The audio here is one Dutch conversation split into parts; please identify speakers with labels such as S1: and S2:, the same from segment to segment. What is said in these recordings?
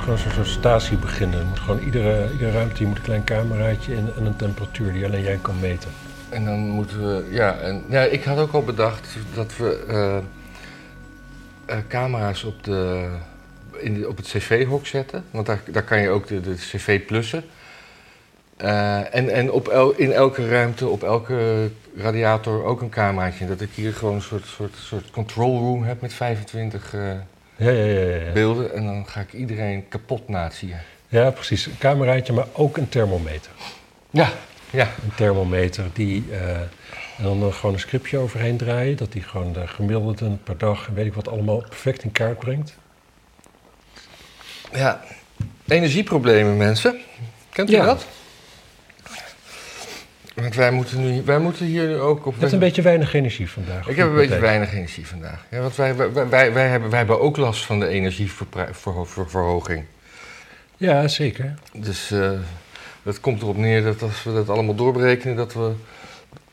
S1: gewoon zo'n sollicitatie beginnen. Er moet gewoon iedere, iedere ruimte hier moet een klein cameraatje in en een temperatuur die alleen jij kan meten.
S2: En dan moeten we, ja, en, ja, ik had ook al bedacht dat we eh, eh, camera's op, de, in de- op het cv-hok zetten. Want daar, daar kan je ook de, de cv plussen. Eh, en en op el- in elke ruimte, op elke radiator ook een cameraatje. Dat ik hier gewoon een soort, soort, soort control room heb met 25 eh,
S1: Ja, ja, ja, ja, ja.
S2: beelden. En dan ga ik iedereen kapot nazien.
S1: Ja, precies. Een cameraatje, maar ook een thermometer.
S2: Ja, ja.
S1: Een thermometer die. eh, en dan eh, gewoon een scriptje overheen draaien. Dat die gewoon de gemiddelden per dag en weet ik wat allemaal perfect in kaart brengt.
S2: Ja, energieproblemen, mensen. Kent u
S1: Ja.
S2: dat? Want wij moeten, nu, wij moeten hier nu ook op.
S1: Je hebt een beetje weinig energie vandaag.
S2: ik heb een
S1: Goed,
S2: beetje
S1: Martijn.
S2: weinig energie vandaag. Ja, want wij, wij, wij, wij hebben, wij hebben ook last van de energieverhoging.
S1: Ja, zeker.
S2: Dus eh dat komt erop neer dat als we dat allemaal doorberekenen, dat we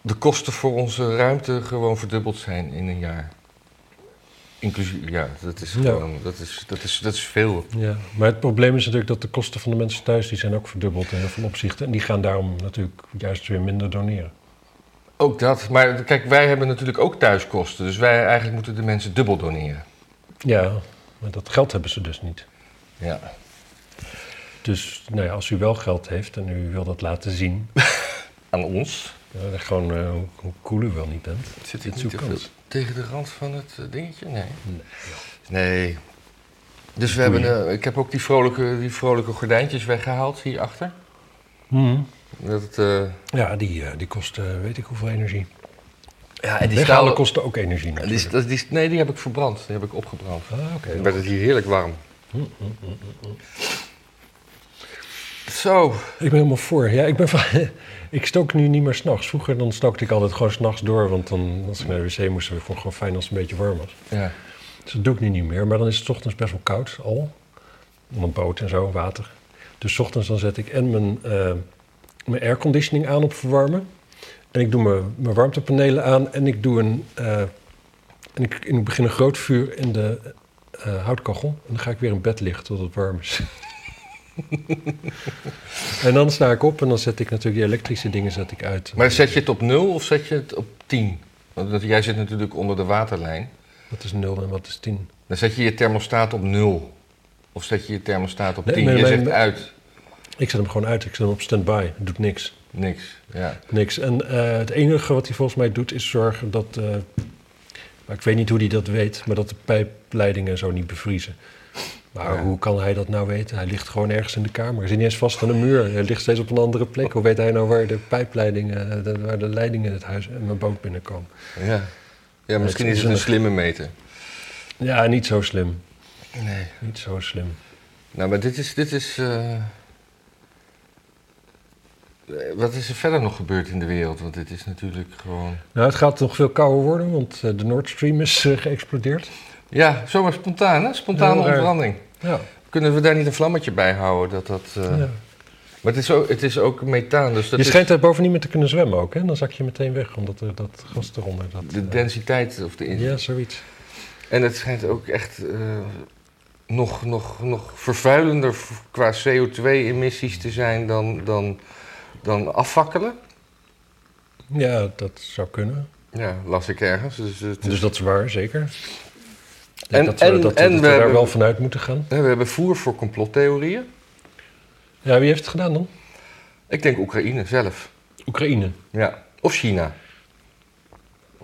S2: de kosten voor onze ruimte gewoon verdubbeld zijn in een jaar. Inclusief, ja, dat is
S1: Ja.
S2: gewoon, Dat, is, dat, is, dat is veel.
S1: Ja, maar het probleem is natuurlijk dat de kosten van de mensen thuis die zijn ook verdubbeld in heel veel opzichten. En die gaan daarom natuurlijk juist weer minder doneren.
S2: Ook dat, maar kijk, wij hebben natuurlijk ook thuiskosten. Dus wij eigenlijk moeten de mensen dubbel doneren.
S1: Ja, maar dat geld hebben ze dus niet.
S2: Ja.
S1: Dus nou ja, als u wel geld heeft en u wil dat laten zien,
S2: Aan ons.
S1: eh, gewoon eh, hoe- hoe cool u wel niet bent.
S2: Zit
S1: dit
S2: het
S1: zo'n
S2: niet te
S1: kans?
S2: veel tegen de rand van het eh, dingetje? Nee.
S1: Nee,
S2: Nee. Dus we hebben, eh, ik heb ook die vrolijke, die vrolijke gordijntjes weggehaald hierachter. Dat het, eh,
S1: Mhm. Ja, die, eh, die kosten eh, weet ik hoeveel energie.
S2: ja, en die
S1: Weghalen
S2: stalen...
S1: kosten ook energie
S2: en Die,
S1: natuurlijk.
S2: dat- die, nee, die heb ik verbrand. Die heb ik opgebrand.
S1: Ah, oké.
S2: Dan werd het hier heerlijk warm. Zo.
S1: Ik ben helemaal voor. Ja, ik, ben van, ik stook nu niet meer s'nachts. Vroeger dan stookte ik altijd gewoon s'nachts door, want dan, als ik naar de wc moest, vond ik het gewoon fijn als het een beetje warm was.
S2: Ja.
S1: Dus dat doe ik nu niet meer. Maar dan is het 's ochtends best wel koud al. Om een boot en zo, water. Dus 's ochtends dan zet ik en mijn, eh, mijn airconditioning aan op verwarmen. En ik doe mijn, mijn warmtepanelen aan. En ik doe een. eh, en ik, en ik begin een groot vuur in de eh, houtkachel. En dan ga ik weer in bed liggen tot het warm is. en dan sta ik op en dan zet ik natuurlijk die elektrische dingen zet ik uit.
S2: Maar zet je het op 0 of zet je het op 10? Want dat- jij zit natuurlijk onder de waterlijn.
S1: Wat is 0 en wat is 10?
S2: Dan zet je je thermostaat op 0. Of zet je je thermostaat op
S1: Nee,
S2: 10.
S1: mijn-
S2: je
S1: mijn-
S2: zegt uit.
S1: Ik zet hem gewoon uit. Ik zet hem op standby. Het doet niks.
S2: Niks. Ja.
S1: Niks. En eh, het enige wat hij volgens mij doet is zorgen dat. eh, maar ik weet niet hoe hij dat weet, maar dat de pijpleidingen zo niet bevriezen. Maar
S2: Ja.
S1: hoe kan hij dat nou weten? Hij ligt gewoon ergens in de kamer. Hij zit niet eens vast aan de muur. Hij ligt steeds op een andere plek. Hoe weet hij nou waar de pijpleidingen, eh, de- waar de leidingen het huis en mijn boot binnenkomen?
S2: ja. ja misschien
S1: Het
S2: is
S1: is
S2: het een
S1: een-
S2: slimme meter.
S1: Ja, niet zo slim.
S2: Nee.
S1: Niet zo slim.
S2: Nou, maar dit is. Dit is eh, Wat is er verder nog gebeurd in de wereld? Want dit is natuurlijk gewoon.
S1: Nou, het gaat nog veel kouder worden, want eh, de Nord Stream is eh, geëxplodeerd.
S2: Ja, zomaar spontaan, hè? Spontane
S1: Heel raar.
S2: ontbranding.
S1: Ja.
S2: Kunnen we daar niet een vlammetje bij houden? Dat dat, eh,
S1: ja.
S2: Maar het is ook, het is ook methaan. Dus dat
S1: Je
S2: is-
S1: schijnt daar boven niet meer te kunnen zwemmen ook, hè? Dan zak je meteen weg, omdat er dat gas eronder... Dat,
S2: De
S1: eh,
S2: densiteit of de in-
S1: Ja, zoiets.
S2: En het schijnt ook echt eh, nog, nog, nog vervuilender v- qua CO2-emissies te zijn dan, dan, dan afvakkelen.
S1: Ja, dat zou kunnen.
S2: Ja, las ik ergens. Dus, het is-
S1: Dus dat is waar, zeker. Ik denk
S2: En-
S1: dat we,
S2: en-
S1: dat, we-
S2: en
S1: dat
S2: we
S1: we daar
S2: hebben-
S1: wel vanuit moeten gaan.
S2: Hè, we hebben voer voor complottheorieën.
S1: Ja, wie heeft het gedaan dan?
S2: Ik denk Oekraïne zelf.
S1: Oekraïne.
S2: Ja. Of China.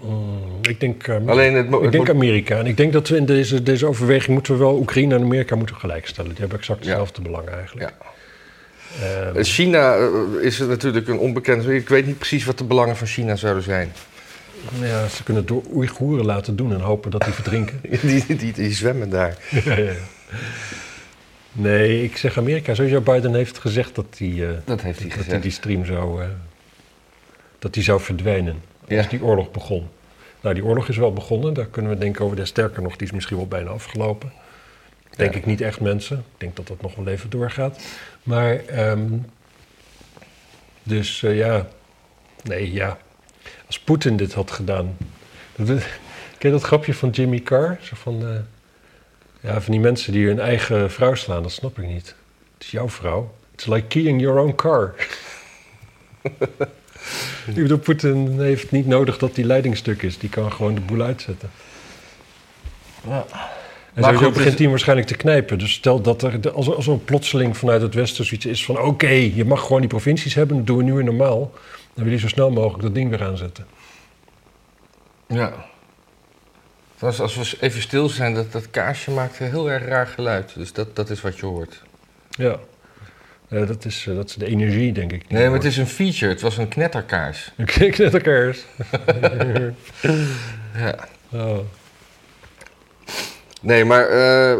S1: Mm, ik denk, eh,
S2: Alleen het, mo-
S1: ik
S2: het
S1: denk
S2: mo-
S1: Amerika. En ik denk dat we in deze, deze overweging moeten we wel Oekraïne en Amerika moeten gelijkstellen. Die hebben exact
S2: Ja. Dus-
S1: dezelfde belangen eigenlijk. Ehm,
S2: China eh, is natuurlijk een onbekend. Ik weet niet precies wat de belangen van China zouden zijn.
S1: ja, ze kunnen het door Oeigoeren laten doen en hopen dat die verdrinken.
S2: Die, die, die zwemmen daar.
S1: Ja, ja. Nee, ik zeg Amerika. Sowieso Biden heeft gezegd dat hij... eh,
S2: Dat heeft hij
S1: dat hij
S2: gezegd.
S1: die stream zou, eh, dat die zou verdwijnen
S2: Ja.
S1: als die oorlog begon. Nou, die oorlog is wel begonnen. Daar kunnen we denken over. Ja, Sterker nog, die is misschien wel bijna afgelopen. Denk
S2: Ja.
S1: ik niet echt, mensen. Ik denk dat dat nog wel even doorgaat. Maar, ehm, dus eh, ja, nee, ja. Als Poetin dit had gedaan. Dat, ken je dat grapje van Jimmy Carr? Zo van, eh, Ja, van die mensen die hun eigen vrouw slaan, dat snap ik niet. Het is jouw vrouw. It's like keying your own car. ik bedoel, Poetin heeft niet nodig dat die leidingstuk is. Die kan gewoon de boel uitzetten.
S2: Ja.
S1: En
S2: Maar
S1: sowieso
S2: goed,
S1: begint
S2: dus-
S1: hij waarschijnlijk te knijpen. Dus stel dat er, de- als er, als er plotseling vanuit het Westen zoiets is van... oké, je mag gewoon die provincies hebben, dat doen we nu weer normaal. Dan wil hij zo snel mogelijk dat ding weer aanzetten.
S2: Ja. Trouwens, als we even stil zijn, dat, dat kaarsje maakt een heel erg raar geluid. Dus dat, dat is wat je hoort.
S1: Ja, Eh, dat, is, eh, dat is de energie, denk ik. die
S2: Nee, maar
S1: hoort.
S2: het is een feature. Het was een knetterkaars.
S1: Ik kijk net elkaar eens.
S2: Ja.
S1: Oh.
S2: Nee, maar eh,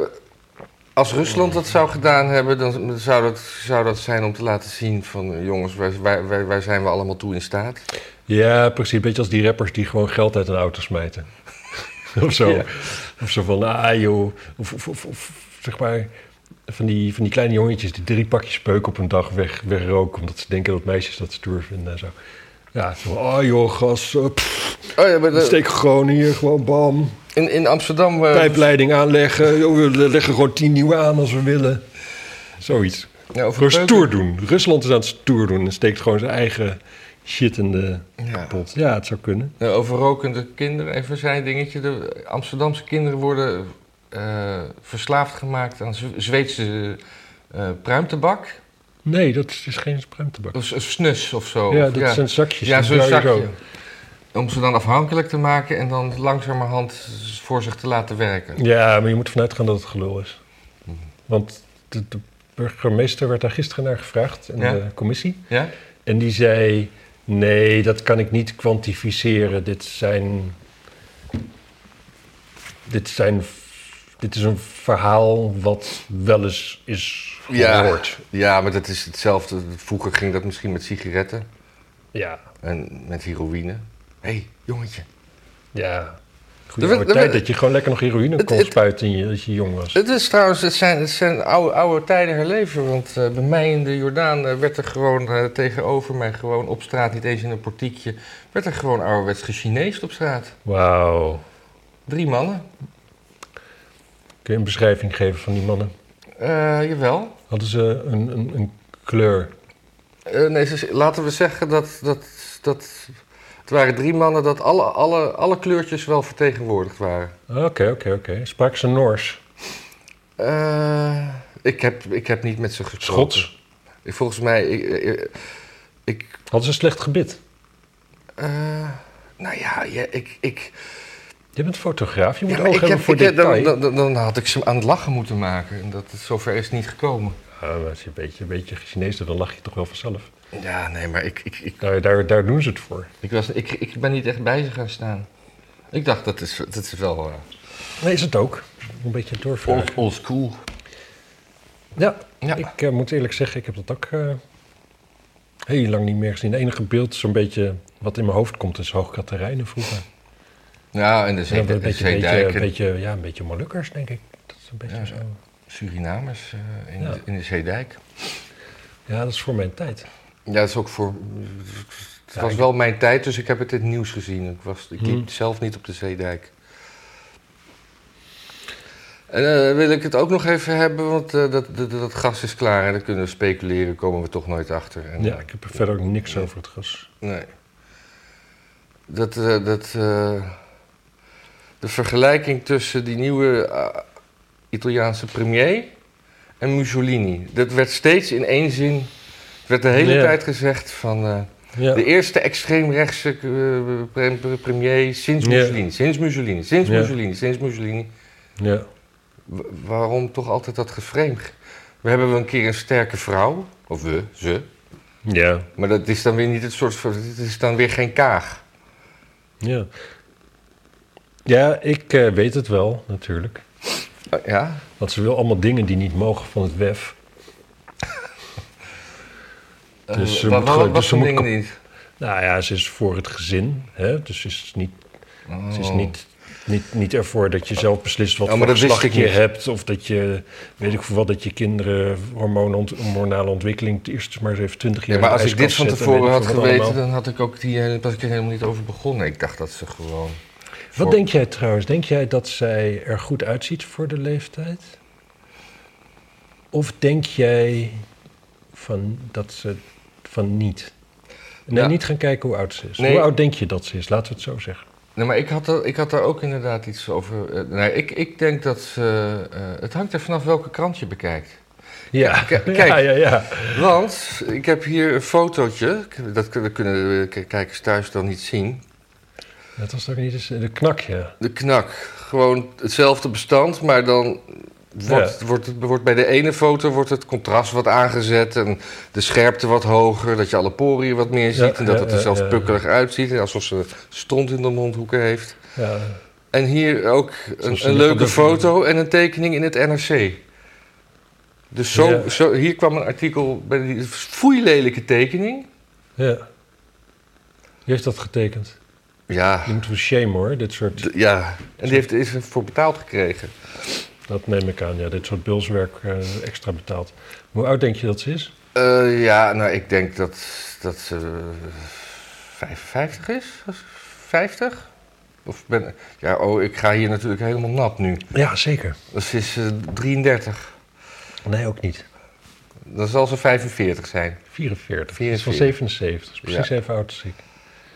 S2: als Rusland dat zou gedaan hebben, dan zou dat, zou dat zijn om te laten zien van... eh, jongens, waar, waar, waar- waar zijn we allemaal toe in staat?
S1: Ja, precies. Beetje als die rappers die gewoon geld uit een auto smijten. of zo.
S2: Ja.
S1: Of zo van, ah joh. Of, of, of, of zeg maar, van die, van die kleine jongetjes die drie pakjes peuk op een dag weg, wegroken. Omdat ze denken dat meisjes dat stoer vinden en zo. Ja, zo, ah joh, gas, eh, pff,
S2: Oh ja, maar de-
S1: steek gewoon hier, gewoon bam.
S2: in, in Amsterdam... eh,
S1: Pijpleiding aanleggen, joh, we leggen gewoon tien nieuwe aan als we willen. Zoiets.
S2: ja, over
S1: Gewoon
S2: beuken-
S1: stoer doen. Rusland is aan het stoer doen en steekt gewoon zijn eigen shit in de
S2: Ja.
S1: pot. Ja, het zou kunnen.
S2: Ja, Over rokende kinderen, even zijn dingetje. De Amsterdamse kinderen worden eh, verslaafd gemaakt aan Zwe- Zweedse eh, pruimtebak.
S1: Nee, dat is dus geen pruimtebak.
S2: Of s- of snus of zo.
S1: ja,
S2: Of-
S1: dat zijn zakjes.
S2: Oh, ja
S1: die
S2: zo'n
S1: draai je
S2: zakje. Om ze dan afhankelijk te maken en dan langzamerhand voor zich te laten werken.
S1: Ja, maar je moet vanuit gaan dat het gelul is.
S2: Mm.
S1: Want de, de burgemeester werd daar gisteren naar gevraagd in
S2: Ja.
S1: de commissie.
S2: Ja?
S1: En die zei, nee, dat kan ik niet kwantificeren. Dit zijn... Dit zijn... Dit is een verhaal wat wel eens is
S2: Ja.
S1: gehoord.
S2: ja, maar dat is hetzelfde. Vroeger ging dat misschien met sigaretten
S1: Ja,
S2: en met heroïne. Hé, hey, jongetje.
S1: ja.
S2: Er
S1: Goede
S2: werd-
S1: oude
S2: er
S1: tijd
S2: werd-
S1: dat je gewoon lekker nog heroïne
S2: Het-
S1: kon
S2: het-
S1: spuiten in je- als je jong was.
S2: Het is trouwens, het zijn, het zijn oude, oude tijden herleven. Want eh, bij mij in de Jordaan eh, werd er gewoon eh, tegenover mij, gewoon op straat, niet eens in een portiekje, werd er gewoon ouderwets gechineesd op straat.
S1: Wauw.
S2: Drie mannen.
S1: Kun je een beschrijving geven van die mannen?
S2: Eh, jawel.
S1: Hadden ze een, een, een kleur?
S2: Eh, nee, ze- laten we zeggen dat, dat, dat het waren drie mannen dat alle, alle, alle kleurtjes wel vertegenwoordigd waren.
S1: Oké, Ah, oké, oké. Spraken ze Noors?
S2: Eh, ik, heb, ik heb niet met ze gesproken.
S1: Schots?
S2: Ik, volgens mij, ik, ik- ik
S1: Hadden ze een slecht gebit?
S2: eh, nou ja, ja, ik, ik,
S1: Je bent fotograaf, je moet
S2: Ja, maar
S1: oog
S2: ik
S1: hebben
S2: heb,
S1: voor
S2: ik heb-
S1: detail.
S2: dan, dan, dan had ik ze aan het lachen moeten maken. En dat het zover is niet gekomen.
S1: Ja, Ah, maar als je een beetje, een beetje Chinees doet, dan lach je toch wel vanzelf.
S2: Ja, nee, maar ik, ik, ik,
S1: Daar, daar, daar doen ze het voor.
S2: ik, was, ik, ik ben niet echt bij ze gaan staan. Ik dacht, dat is, dat is wel eh,
S1: Nee, is het ook. Een beetje doorvragen.
S2: old, old school.
S1: Ja,
S2: Ja.
S1: ik eh, moet eerlijk zeggen, ik heb dat ook eh, heel lang niet meer gezien. Het enige beeld, zo'n beetje wat in mijn hoofd komt, is Hoogkaterijnen vroeger.
S2: Ja, en de
S1: En dan een
S2: Zee- de
S1: beetje, beetje,
S2: Zeedijken.
S1: beetje, ja, een beetje Molukkers, denk ik. Dat is een beetje
S2: Ja.
S1: zo.
S2: Surinamers eh, in,
S1: Ja.
S2: de, in de Zeedijk.
S1: Ja, dat is voor mijn tijd.
S2: Ja, dat is ook voor... Het
S1: Ja,
S2: was
S1: ik-
S2: wel mijn tijd, dus ik heb het in het nieuws gezien. Ik, was, ik liep
S1: Hmm.
S2: zelf niet op de Zeedijk. En eh, wil ik het ook nog even hebben, want eh, dat, dat, dat gas is klaar. En dan kunnen we speculeren, komen we toch nooit achter. En,
S1: Ja, ik heb er verder ook niks over het gas.
S2: Nee. Dat, eh, dat, eh, de vergelijking tussen die nieuwe eh, Italiaanse premier en Mussolini. Dat werd steeds in één zin, werd de hele
S1: Ja.
S2: tijd gezegd van... eh,
S1: Ja.
S2: de eerste extreemrechtse eh, pre- pre- premier sinds
S1: Ja.
S2: Mussolini, sinds Mussolini, sinds
S1: Ja.
S2: Mussolini, sinds Mussolini.
S1: ja.
S2: Wa- waarom toch altijd dat geframed? We hebben wel een keer een sterke vrouw, of we, ze.
S1: Ja.
S2: Maar dat is dan weer niet het soort van, het is dan weer geen kaag.
S1: Ja. Ja, ik eh, weet het wel, natuurlijk.
S2: Eh, Ja?
S1: Want ze wil allemaal dingen die niet mogen van het WEF. Dus ze
S2: Eh, wa-
S1: moet
S2: wa-
S1: gewoon-
S2: wat
S1: dus ze
S2: voor
S1: moet
S2: dingen
S1: kap-
S2: niet?
S1: Nou ja, ze is voor het gezin. Hè? Dus ze is, niet, ze is
S2: Oh.
S1: niet, niet, niet ervoor dat je zelf beslist wat
S2: Oh,
S1: voor
S2: maar dat wist
S1: geslacht
S2: ik
S1: je
S2: niet.
S1: hebt. Of dat je, weet ik veel wat, dat je kinderen hormonen ont- hormonale ontwikkeling... het eerst maar eens even twintig jaar
S2: Ja, maar
S1: in de
S2: als ik dit
S1: ijskast
S2: van
S1: zet en weet
S2: tevoren
S1: ik
S2: had
S1: veel wat
S2: geweten,
S1: allemaal.
S2: dan had ik ook die, eh, was ik er helemaal niet over begonnen. Ik dacht dat ze gewoon...
S1: Wat
S2: Voor-
S1: denk jij trouwens? Denk jij dat zij er goed uitziet voor de leeftijd? Of denk jij van dat ze van niet? Nee,
S2: Ja.
S1: niet gaan kijken hoe oud ze is.
S2: Nee.
S1: Hoe oud denk je dat ze is? Laten we het zo zeggen.
S2: Nee, maar ik had, er, ik had daar ook inderdaad iets over. eh, nee, ik, ik denk dat ze. eh, het hangt er vanaf welke krant je bekijkt.
S1: Ja,
S2: K- kijk.
S1: ja, ja, ja.
S2: Want ik heb hier een fotootje. Ik- Dat kun- dat kunnen de k- kijkers thuis dan niet zien.
S1: Dat was toch niet eens de knak, ja.
S2: De knak. Gewoon hetzelfde bestand, maar dan. Wordt, wordt, het- wordt bij de ene foto wordt het contrast wat aangezet en de scherpte wat hoger, dat je alle poriën wat meer
S1: Ja,
S2: ziet en dat
S1: ja,
S2: het
S1: ja,
S2: er zelfs
S1: ja, ja.
S2: pukkelig uitziet, alsof ze stront in de mondhoeken heeft.
S1: ja.
S2: En hier ook
S1: Zoals
S2: een,
S1: ze
S2: een
S1: nu
S2: leuke
S1: van de-
S2: foto en een tekening in het NRC. Dus zo,
S1: Ja.
S2: zo, hier kwam een artikel bij die foeilelijke tekening.
S1: ja. Wie heeft dat getekend?
S2: Ja,
S1: Die moeten we shame hoor, dit soort...
S2: d- ja. En die heeft is ervoor betaald gekregen.
S1: Dat neem ik aan, ja. Dit soort bulswerk eh, extra betaald. Maar Hoe oud denk je dat ze is?
S2: Eh, ja, nou, ik denk dat, dat ze eh, 55 is. 50? Of ben, ja, oh, ik ga hier natuurlijk helemaal nat nu.
S1: Ja, zeker.
S2: Dus is eh, 33.
S1: Nee, ook niet.
S2: Dan zal ze 45 zijn.
S1: 44.
S2: Ze
S1: van
S2: is van
S1: 77. precies
S2: precies
S1: even oud als ik.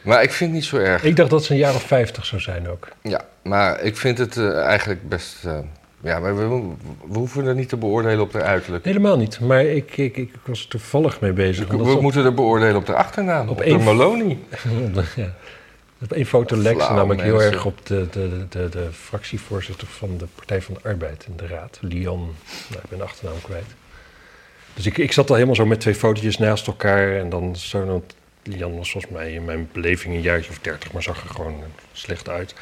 S2: Maar ik vind het niet zo erg.
S1: Ik dacht dat ze een jaar of 50 zou zijn ook.
S2: Ja, maar ik vind het eh, eigenlijk best. eh, ja, maar we, we hoeven er niet te beoordelen op de uiterlijk. Dus
S1: Helemaal niet. Maar ik, ik, ik was er toevallig mee bezig.
S2: we
S1: omdat ze op-
S2: moeten er beoordelen op de achternaam.
S1: Op
S2: Op,
S1: één-
S2: de Maloney.
S1: ja. Op één foto lek ze
S2: Flauw,
S1: namelijk heel
S2: mensen.
S1: erg op de, de, de, de fractievoorzitter van de Partij van de Arbeid in de Raad. Lian, nou, ik ben de achternaam kwijt. Dus ik, ik zat al helemaal zo met twee fotootjes naast elkaar. En dan zo, want Lian was volgens mij in mijn beleving een jaartje of dertig, maar zag er gewoon slecht uit.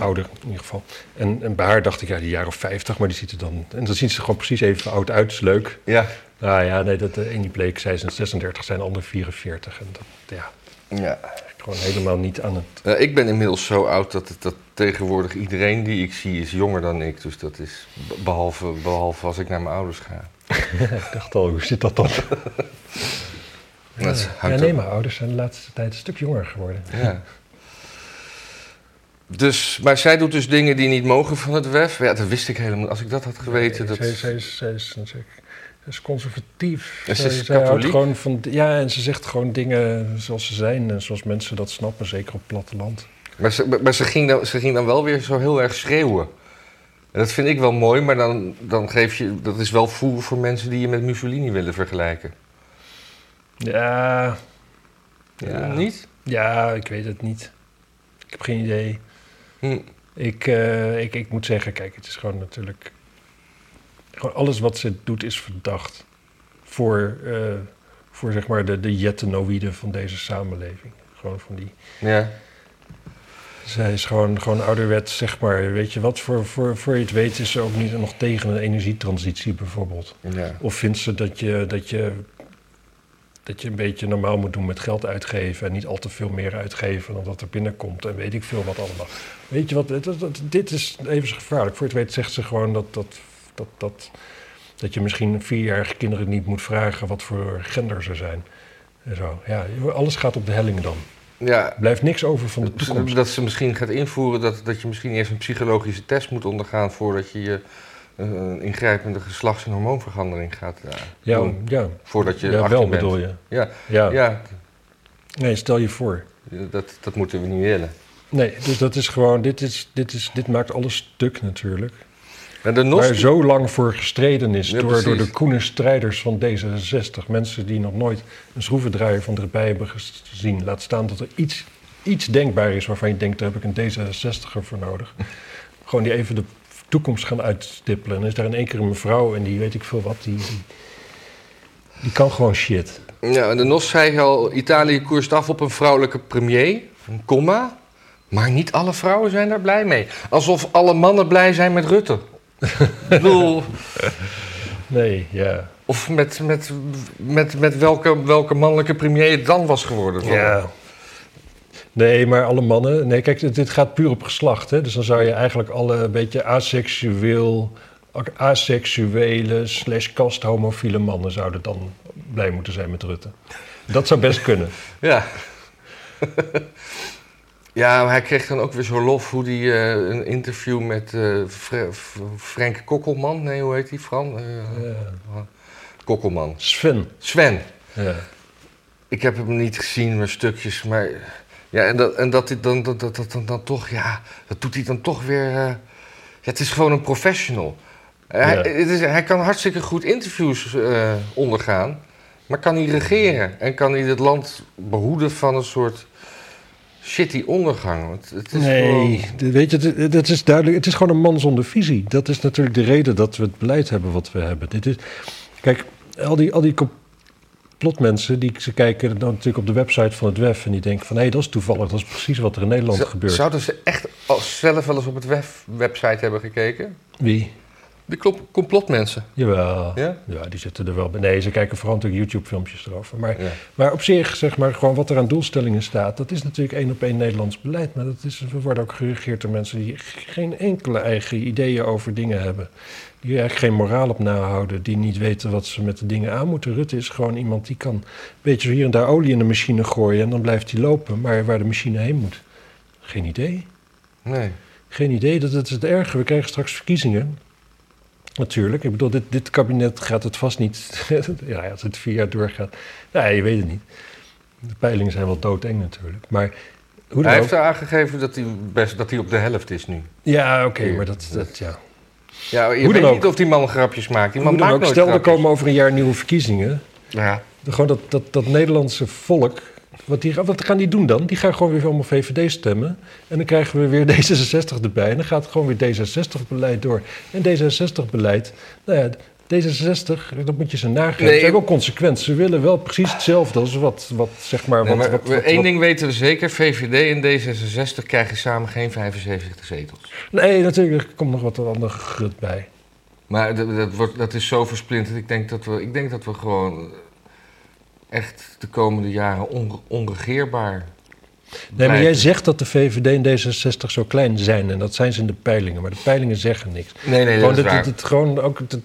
S1: Ouder in ieder geval. En, en bij haar dacht ik, ja, die jaar of vijftig, maar die ziet er dan... En dan ziet ze er gewoon precies even oud uit, is leuk.
S2: Ja.
S1: Nou ja, nee, dat, de ene bleek, zij is een 36, zijn de ander 44. En dat, ja,
S2: ja.
S1: gewoon helemaal niet aan het.
S2: Nou, ik ben inmiddels zo oud dat, het- dat tegenwoordig iedereen die ik zie is jonger dan ik. Dus dat is. be- Behalve, behalve als ik naar mijn ouders ga.
S1: Ik dacht al, hoe zit dat dan?
S2: Dat is-
S1: Ja,
S2: hangt
S1: nee,
S2: er-
S1: mijn ouders zijn de laatste tijd een stuk jonger geworden.
S2: Ja. Dus, maar zij doet dus dingen die niet mogen van het WEF. Ja, dat wist ik helemaal. Als ik dat had geweten.
S1: Nee,
S2: Dat...
S1: Zij, zij is, zij, is, zij is conservatief.
S2: Ja, ze
S1: Zij-
S2: is
S1: zij houdt
S2: katholiek.
S1: gewoon van, ja, en ze zegt gewoon dingen zoals ze zijn en zoals mensen dat snappen, zeker op het platteland.
S2: Maar, ze, maar- maar ze, ging dan, ze ging dan wel weer zo heel erg schreeuwen. En dat vind ik wel mooi, maar dan, dan geef je, dat is wel voer voor mensen die je met Mussolini willen vergelijken.
S1: Ja,
S2: Ja.
S1: Ja.
S2: Niet?
S1: ja, ik weet het niet. Ik heb geen idee.
S2: Hm.
S1: Ik, eh, ik, ik moet zeggen, kijk, het is gewoon natuurlijk. Gewoon alles wat ze doet is verdacht. Voor, eh, voor zeg maar de, de jettenoïden van deze samenleving. Gewoon van die.
S2: Ja.
S1: Zij is gewoon, gewoon ouderwets, zeg maar. Weet je wat, voor, voor, voor je het weet is ze ook niet nog tegen een energietransitie bijvoorbeeld.
S2: ja.
S1: Of vindt ze dat je, dat je, dat je een beetje normaal moet doen met geld uitgeven en niet al te veel meer uitgeven dan wat er binnenkomt en weet ik veel wat allemaal. Weet je wat, het- het- het- dit is even gevaarlijk. Voor het weet zegt ze gewoon dat, dat, dat, dat, dat je misschien vierjarige kinderen niet moet vragen wat voor gender ze zijn. En zo. Ja, alles gaat op de helling dan.
S2: ja.
S1: Er blijft niks over van de toekomst.
S2: Dat ze misschien gaat invoeren dat, dat je misschien eerst een psychologische test moet ondergaan voordat je je eh, ingrijpende geslachts- en hormoonverandering gaat eh,
S1: Ja,
S2: doen.
S1: ja,
S2: Voordat je
S1: ja
S2: 18
S1: wel
S2: bent.
S1: bedoel je.
S2: Ja,
S1: Ja.
S2: ja
S1: Nee, stel je voor.
S2: dat, dat moeten we niet willen.
S1: Nee, dus dat is gewoon, dit, is, dit, is, dit maakt alles stuk natuurlijk.
S2: En de
S1: Waar
S2: Nos-
S1: zo lang voor gestreden is
S2: Ja,
S1: door, door de
S2: precies.
S1: koene strijders van D66. Mensen die nog nooit een schroevendraaier van dichtbij hebben ges- gezien. Laat staan dat er iets, iets denkbaar is waarvan je denkt, daar heb ik een D66er voor nodig. Gewoon die even de toekomst gaan uitstippelen. En dan is daar in één keer een mevrouw en die weet ik veel wat, die, die, die kan gewoon shit.
S2: Ja, en de NOS zei al, Italië koerst af op een vrouwelijke premier, een comma. Maar niet alle vrouwen zijn daar blij mee. Alsof alle mannen blij zijn met Rutte. Ik bedoel,
S1: Nee, ja.
S2: of met, met, met, met welke, welke mannelijke premier het dan was geworden.
S1: Ja. Nee, maar alle mannen. Nee, kijk, dit, dit gaat puur op geslacht. Hè? Dus dan zou je eigenlijk alle een beetje aseksueel, ak- aseksuele slash kasthomofiele mannen zouden dan blij moeten zijn met Rutte. Dat zou best kunnen.
S2: ja. Ja, maar hij kreeg dan ook weer zo'n lof hoe hij eh, een interview met eh, Fre- F- Frank Kokkelman. Nee, hoe heet die? Fran? Eh,
S1: Ja.
S2: Kokkelman.
S1: Sven.
S2: Sven.
S1: Ja.
S2: Ik heb hem niet gezien, maar stukjes. Maar ja, en dat, en dat, hij dan, dat, dat, dat dan, dan toch, ja, dat doet hij dan toch weer. eh, ja, het is gewoon een professional. Hij,
S1: Ja.
S2: het is, hij kan hartstikke goed interviews eh, ondergaan, maar kan hij regeren en kan hij het land behoeden van een soort shitty ondergang? Want het is gewoon-
S1: Nee, d- weet je, d- dat is duidelijk. Het is gewoon een man zonder visie. Dat is natuurlijk de reden dat we het beleid hebben wat we hebben. Dit is, kijk, al die, al die complotmensen, die, ze kijken dan natuurlijk op de website van het WEF... en die denken van, hé, dat is toevallig, dat is precies wat er in Nederland
S2: Zou-
S1: gebeurt.
S2: Zouden ze echt al- zelf wel eens op het web, website hebben gekeken?
S1: Wie?
S2: De klop- complotmensen.
S1: Jawel.
S2: Ja?
S1: Ja, die zitten er wel bij. Nee, ze kijken vooral natuurlijk YouTube-filmpjes erover. Maar,
S2: Ja.
S1: maar op zich, zeg maar, gewoon wat er aan doelstellingen staat... dat is natuurlijk één op één Nederlands beleid. Maar dat is, we worden ook geregeerd door mensen die geen enkele eigen ideeën over dingen hebben. Die eigenlijk geen moraal op nahouden. Die niet weten wat ze met de dingen aan moeten. Rutte is gewoon iemand die kan een beetje hier en daar olie in de machine gooien... en dan blijft hij lopen, maar waar de machine heen moet. Geen idee.
S2: Nee.
S1: Geen idee, dat dat is het erge. We krijgen straks verkiezingen. Natuurlijk. Ik bedoel, dit, dit kabinet gaat het vast niet. ja, als het vier jaar doorgaat. Nou, je weet het niet. De peilingen zijn wel doodeng natuurlijk. Maar hoe dan ook.
S2: Hij heeft aangegeven dat hij, best, dat hij op de helft is nu.
S1: Ja, oké, maar dat, dat ja.
S2: Ja, je
S1: Hoe dan
S2: weet
S1: ook.
S2: niet of die man grapjes maakt. Die man
S1: Hoe dan
S2: maakt
S1: ook,
S2: nooit
S1: stel er
S2: grapjes.
S1: komen over een jaar nieuwe verkiezingen.
S2: Ja.
S1: Gewoon dat, dat, dat Nederlandse volk. Wat, die, wat gaan die doen dan? Die gaan gewoon weer allemaal VVD stemmen. En dan krijgen we weer D66 erbij. En dan gaat gewoon weer D66-beleid door. En D66-beleid. Nou ja, D66, dat moet je ze nagaan.
S2: Nee,
S1: ze zijn
S2: ik-
S1: wel consequent. Ze willen wel precies hetzelfde als wat, wat zeg maar.
S2: Nee,
S1: Wat,
S2: maar
S1: wat,
S2: we-
S1: wat-
S2: één
S1: wat-
S2: ding weten we zeker. VVD en D66 krijgen samen geen 75 zetels.
S1: Nee, natuurlijk, er komt nog wat andere grut bij.
S2: Maar dat, dat, wordt, dat is zo versplinterd. Ik denk dat we, ik denk dat we gewoon echt de komende jaren onre- onregeerbaar
S1: Nee, maar
S2: blijven.
S1: jij zegt dat de VVD en D66 zo klein zijn. En dat zijn ze in de peilingen. Maar de peilingen zeggen niks.
S2: Nee, nee, dat
S1: gewoon,
S2: is
S1: dat,
S2: waar.
S1: dat- dat- gewoon ook de,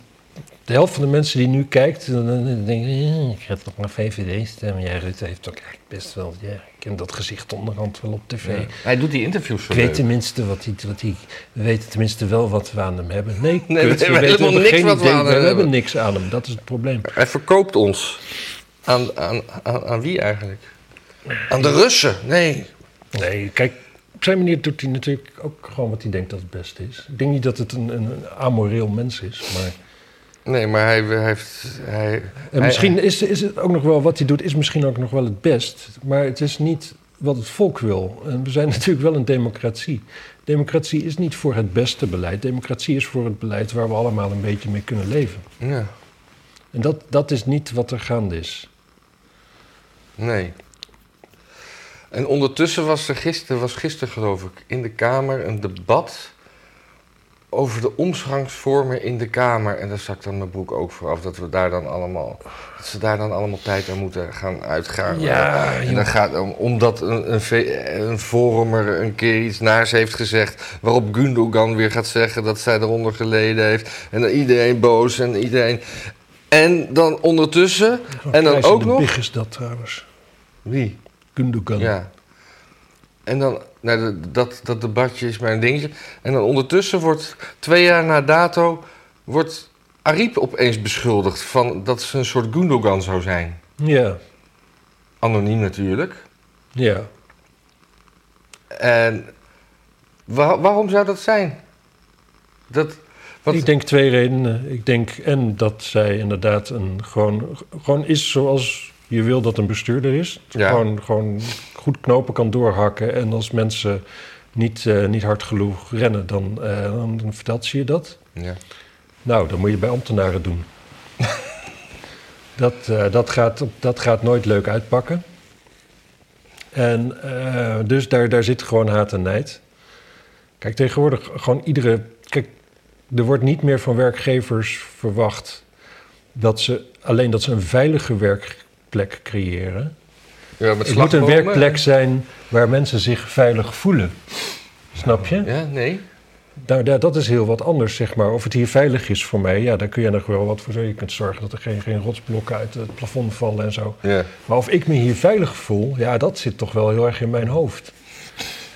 S1: de helft van de mensen die nu kijkt, dan, dan- dan denken, "Eh, ik ga toch naar VVD stemmen. Ja, Rutte heeft ook echt best wel, ja, ik ken dat gezicht onderhand wel op tv.
S2: Ja. Hij doet die interviews zo
S1: Ik weet
S2: leuk.
S1: tenminste wat hij, wat hij, we weten tenminste wel wat we aan hem hebben. Nee,
S2: we
S1: kut,
S2: hebben
S1: weten-
S2: helemaal niks
S1: geen
S2: wat we
S1: idee.
S2: aan hem
S1: We hebben
S2: hebben.
S1: niks aan hem, dat is het probleem.
S2: Hij verkoopt ons. Aan, aan, aan, aan wie eigenlijk? Aan de Russen? Nee.
S1: Nee, kijk, op zijn manier doet hij natuurlijk ook gewoon wat hij denkt dat het beste is. Ik denk niet dat het een, een, een amoreel mens is, maar...
S2: Nee, maar hij, hij heeft... Hij,
S1: En
S2: hij-
S1: misschien is, is het ook nog wel wat hij doet, is misschien ook nog wel het best. Maar het is niet wat het volk wil. En we zijn natuurlijk wel een democratie. Democratie is niet voor het beste beleid. Democratie is voor het beleid waar we allemaal een beetje mee kunnen leven.
S2: Ja,
S1: En dat, dat is niet wat er gaande is.
S2: nee. En ondertussen was er gisteren, was gisteren geloof ik, in de Kamer een debat over de omgangsvormen in de Kamer. En daar zakt dan mijn broek ook voor af, dat we daar dan allemaal, dat ze daar dan allemaal tijd aan moeten gaan uitgaan.
S1: Ja,
S2: en
S1: joh.
S2: dan gaat om, omdat een, een, V- een forumer een keer iets naars heeft gezegd, waarop Gundogan weer gaat zeggen dat zij eronder geleden heeft. En dan iedereen boos en iedereen. En dan ondertussen, en dan
S1: Keizer
S2: ook
S1: de
S2: nog.
S1: Big is dat trouwens.
S2: Wie?
S1: Gundogan.
S2: Ja. En dan, nou, dat- dat, dat debatje is mijn dingetje. En dan ondertussen wordt, twee jaar na dato, wordt Ariep opeens beschuldigd van dat ze een soort Gundogan zou zijn.
S1: Ja,
S2: Anoniem natuurlijk.
S1: ja.
S2: En wa- waarom zou dat zijn? Dat, want-
S1: Ik denk twee redenen. Ik denk en dat zij inderdaad een, gewoon, gewoon is zoals je wil dat een bestuurder is.
S2: Ja.
S1: Gewoon, gewoon goed knopen kan doorhakken. En als mensen niet, eh, niet hard genoeg rennen, dan, eh, dan dan vertelt ze je dat.
S2: ja.
S1: Nou, dan moet je bij ambtenaren doen. dat, eh, dat, gaat, dat gaat nooit leuk uitpakken. En eh, dus daar, daar zit gewoon haat en nijd. Kijk, tegenwoordig gewoon iedere... Kijk, er wordt niet meer van werkgevers verwacht... dat ze alleen dat ze een veilige werkplek creëren.
S2: ja
S1: Het moet
S2: met
S1: een
S2: slagbomen.
S1: werkplek zijn waar mensen zich veilig voelen. Snap je?
S2: Ja, nee.
S1: Nou, da- dat is heel wat anders, zeg maar. Of het hier veilig is voor mij, ja, daar kun je nog wel wat voor doen. Je kunt zorgen dat er geen, geen rotsblokken uit het plafond vallen en zo.
S2: Ja.
S1: Maar of ik me hier veilig voel, ja, dat zit toch wel heel erg in mijn hoofd.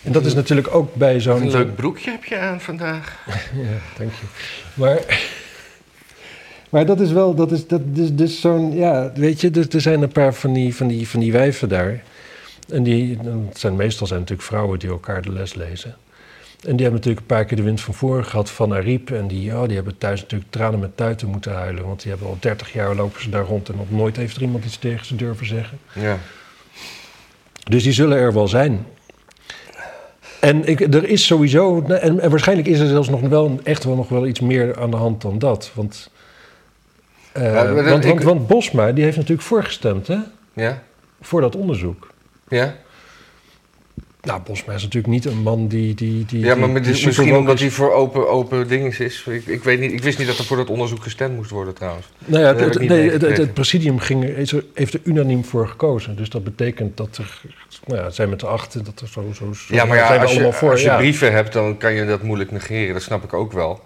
S1: En dat is natuurlijk ook bij zo'n...
S2: Een leuk broekje heb je aan vandaag.
S1: Ja, dank je. Maar, maar dat is wel, dat is, dat is dus zo'n, ja, weet je, dus er zijn een paar van die, van die, van die wijven daar. En die, dat zijn meestal zijn natuurlijk vrouwen die elkaar de les lezen. En die hebben natuurlijk een paar keer de wind van voren gehad van Ariep. En die, ja, die hebben thuis natuurlijk tranen met tuiten moeten huilen. Want die hebben al 30 jaar lopen ze daar rond en nog nooit heeft er iemand iets tegen ze durven zeggen.
S2: Ja.
S1: Dus die zullen er wel zijn. En ik, er is sowieso, en, en waarschijnlijk is er zelfs nog wel echt wel nog wel iets meer aan de hand dan dat. Want, eh,
S2: maar dat-
S1: want, want,
S2: ik-
S1: want Bosma die heeft natuurlijk voorgestemd hè,
S2: Ja?
S1: voor dat onderzoek.
S2: Ja?
S1: Nou, Bosma is natuurlijk niet een man die. die, die
S2: Ja, maar
S1: die-
S2: met-
S1: die
S2: misschien
S1: superwoke
S2: omdat
S1: is.
S2: hij voor open, open dingen is. Ik, ik, weet niet, ik wist niet dat er voor dat onderzoek gestemd moest worden trouwens.
S1: Nou ja, het,
S2: Dat heb
S1: het-
S2: ik niet
S1: nee, het,
S2: meegekregen.
S1: het presidium ging, er- is er- heeft er unaniem voor gekozen. Dus dat betekent dat er. Nou ja, het zijn met de achten, dat er zo. zo, zo
S2: Ja, maar
S1: zijn
S2: ja,
S1: we
S2: als je,
S1: allemaal voor.
S2: als je
S1: ja.
S2: brieven hebt, dan kan je dat moeilijk negeren. Dat snap ik ook wel.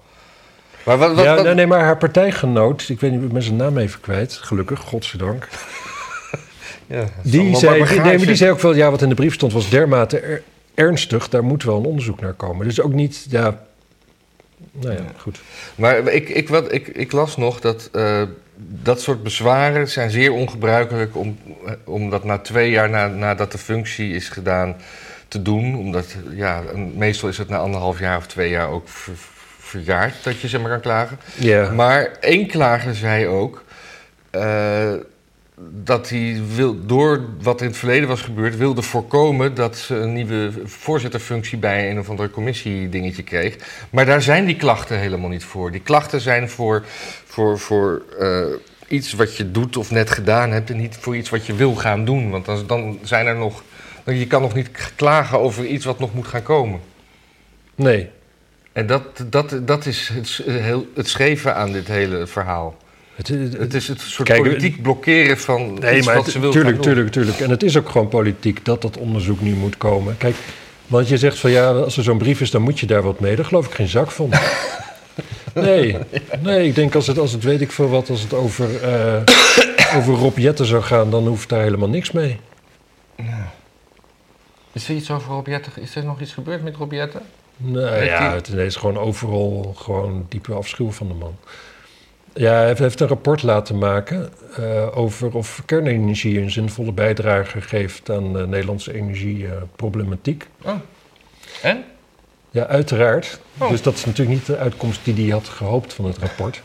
S2: Maar wat... wat,
S1: ja,
S2: wat-
S1: nee, nee, maar haar partijgenoot, ik weet niet, ik ben zijn naam even kwijt, gelukkig, godzijdank.
S2: ja, dat is
S1: Die
S2: allemaal
S1: zei, die,
S2: bagage.
S1: nee, maar die zei ook wel, ja, wat in de brief stond was dermate er- ernstig, daar moet wel een onderzoek naar komen. Dus ook niet, ja, nou ja, goed.
S2: Maar ik, ik, wat, ik, ik las nog dat eh, dat soort bezwaren zijn zeer ongebruikelijk om, eh, om dat na twee jaar na, nadat de functie is gedaan te doen. Omdat ja, een- meestal is het na anderhalf jaar of twee jaar ook ver- verjaard dat je zeg maar kan klagen.
S1: Ja,
S2: Maar één klager zei ook eh, dat hij wil, door wat in het verleden was gebeurd wilde voorkomen dat ze een nieuwe voorzitterfunctie bij een of andere commissiedingetje kreeg. Maar daar zijn die klachten helemaal niet voor. Die klachten zijn voor, voor, voor eh, iets wat je doet of net gedaan hebt en niet voor iets wat je wil gaan doen. Want dan, dan zijn er nog. Je kan nog niet klagen over iets wat nog moet gaan komen.
S1: nee.
S2: En dat, dat, dat is het, s- heel, het scheve aan dit hele verhaal.
S1: Het, het-
S2: Het is het soort
S1: Kijk,
S2: politiek blokkeren van
S1: Nee,
S2: iets
S1: maar
S2: wat
S1: het-
S2: ze wil
S1: tuurlijk,
S2: gaan doen.
S1: tuurlijk, tuurlijk. En het is ook gewoon politiek dat dat onderzoek nu moet komen. Kijk, want je zegt van ja, als er zo'n brief is, dan moet je daar wat mee. Daar geloof ik geen zak van. Nee, nee ik denk als het, als het weet ik veel wat, als het over, eh, over Rob Jetten zou gaan, dan hoeft daar helemaal niks mee.
S2: Is er iets over Robjette? Is er nog iets gebeurd met Robjette?
S1: Nou
S2: Heeft
S1: ja,
S2: hij-
S1: het is gewoon overal gewoon diepe afschuw van de man. Ja, hij heeft- heeft een rapport laten maken eh, over of kernenergie een zinvolle bijdrage geeft aan de Nederlandse eh, energieproblematiek.
S2: Oh. En?
S1: Ja, uiteraard.
S2: Oh.
S1: Dus dat is natuurlijk niet de uitkomst die hij had gehoopt van het rapport.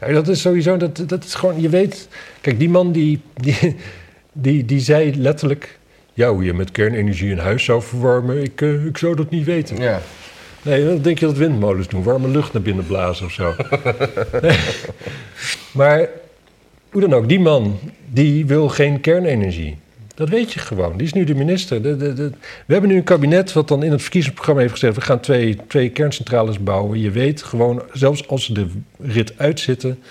S1: Ja, dat is sowieso, dat, dat is gewoon, je weet... Kijk, die man die, die, die, die zei letterlijk... Ja, hoe je met kernenergie een huis zou verwarmen, ik, eh, ik zou dat niet weten.
S2: Ja.
S1: Nee, dan denk je dat windmolens doen. Warme lucht naar binnen blazen of zo. Nee. Maar hoe dan ook, die man die wil geen kernenergie. Dat weet je gewoon. Die is nu de minister. De- de- de- We hebben nu een kabinet wat dan in het verkiezingsprogramma heeft gezegd... we gaan twee, twee kerncentrales bouwen. Je weet gewoon, zelfs als ze de rit uitzitten...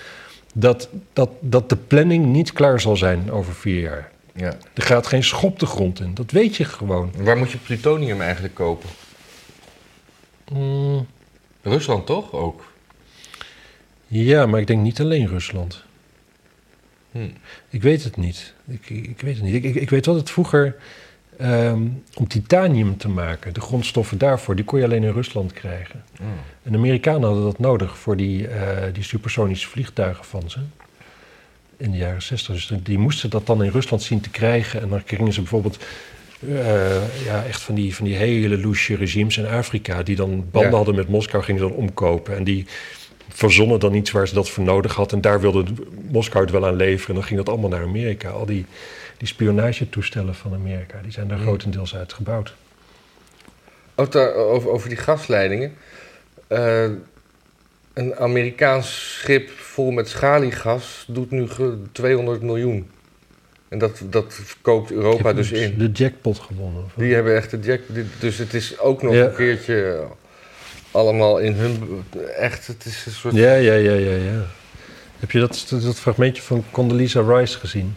S1: Dat, dat, dat de planning niet klaar zal zijn over vier jaar.
S2: ja.
S1: Er gaat geen schop de grond in. Dat weet je gewoon.
S2: Waar moet je plutonium eigenlijk kopen?
S1: Mm,
S2: Rusland toch ook?
S1: Ja, maar ik denk niet alleen Rusland.
S2: Hmm.
S1: Ik weet het niet. Ik, ik, ik weet het niet. Ik, ik, ik weet wel dat vroeger ehm, om titanium te maken, de grondstoffen daarvoor, die kon je alleen in Rusland krijgen. En de Amerikanen hadden dat nodig voor die, eh, die supersonische vliegtuigen van ze. In de jaren 60. Dus die moesten dat dan in Rusland zien te krijgen. En dan kregen ze bijvoorbeeld eh, ja, echt van die, van die hele loesje regimes in Afrika. Die dan banden
S2: Ja.
S1: hadden met Moskou, gingen ze dan omkopen. En die verzonnen dan iets waar ze dat voor nodig had. En daar wilde Moskou het wel aan leveren. En dan ging dat allemaal naar Amerika. Al die, die spionagetoestellen van Amerika, die zijn daar
S2: Hmm.
S1: grotendeels uit gebouwd.
S2: Ook daar- over, over die gasleidingen. Eh, een Amerikaans schip vol met schaliegas doet nu ge- 200 miljoen. En dat, dat koopt
S1: Ik
S2: Europa
S1: heb
S2: dus in.
S1: De jackpot gewonnen. of wat?
S2: Die hebben echt de jack. dit- Dus het is ook nog
S1: Ja.
S2: een keertje allemaal in hun. Echt, het is een soort.
S1: Ja, ja, ja, ja, ja. Heb je dat, dat fragmentje van Condoleezza Rice gezien?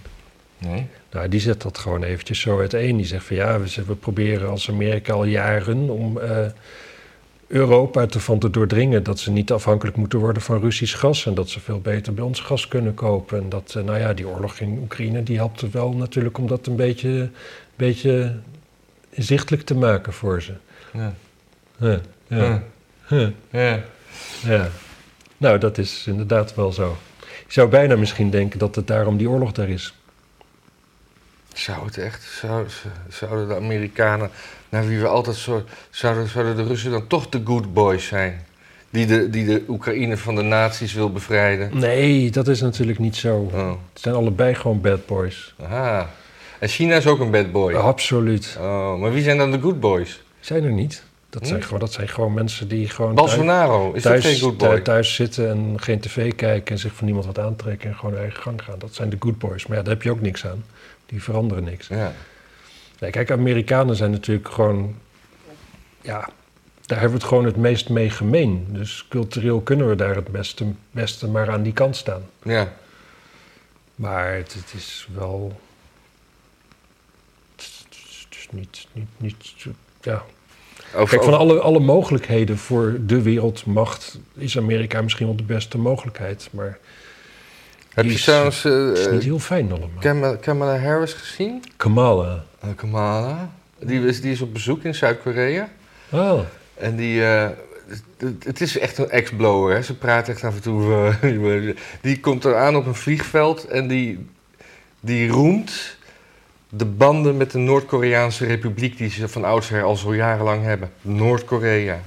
S2: Nee.
S1: Nou, die zet dat gewoon eventjes zo uiteen. Die zegt van ja, we, we proberen als Amerika al jaren om eh, Europa ervan te doordringen dat ze niet afhankelijk moeten worden van Russisch gas en dat ze veel beter bij ons gas kunnen kopen. En dat, eh, nou ja, die oorlog in Oekraïne die helpt er wel natuurlijk om dat een beetje, beetje zichtelijk te maken voor ze.
S2: Ja.
S1: Huh, ja.
S2: Ja.
S1: huh,
S2: Ja.
S1: ja. Nou, dat is inderdaad wel zo. Je zou bijna misschien denken dat het daarom die oorlog daar is.
S2: Zou het echt? Zou, zouden de Amerikanen, naar wie we altijd zo. Zouden, zouden de Russen dan toch de good boys zijn? Die de, die de Oekraïne van de nazi's wil bevrijden?
S1: Nee, dat is natuurlijk niet zo.
S2: Oh.
S1: Het zijn allebei gewoon bad boys.
S2: Aha. En China is ook een bad boy.
S1: Absoluut.
S2: Oh, maar wie zijn dan de good boys?
S1: Zijn er niet. Dat zijn,
S2: Hm?
S1: gewoon, dat zijn gewoon mensen die gewoon thuis,
S2: Bolsonaro, is dat
S1: thuis,
S2: geen good boy?
S1: thu- thuis zitten en geen tv kijken en zich van niemand wat aantrekken en gewoon hun eigen gang gaan. Dat zijn de good boys. Maar ja, daar heb je ook niks aan. Die veranderen niks.
S2: Ja.
S1: Nee, kijk, Amerikanen zijn natuurlijk gewoon. Ja, daar hebben we het gewoon het meest mee gemeen. Dus cultureel kunnen we daar het beste, beste maar aan die kant staan.
S2: ja.
S1: Maar het, het is wel. Het is- het is niet. niet, niet ja.
S2: Of-
S1: Kijk, van
S2: of-
S1: alle, alle mogelijkheden voor de wereldmacht is Amerika misschien wel de beste mogelijkheid. Maar
S2: heb je
S1: is-
S2: trouwens eh,
S1: het is
S2: eh,
S1: niet heel fijn allemaal.
S2: Kamala, Kamala Harris gezien?
S1: Kamala.
S2: Eh, Kamala. Die is, die is op bezoek in Zuid-Korea.
S1: Ah,
S2: En die. eh, het- het is echt een ex-blower, hè? Ze praat echt af en toe. eh, die komt eraan op een vliegveld en die, die roemt de banden met de Noord-Koreaanse republiek die ze van oudsher al zo jarenlang hebben. Noord-Korea.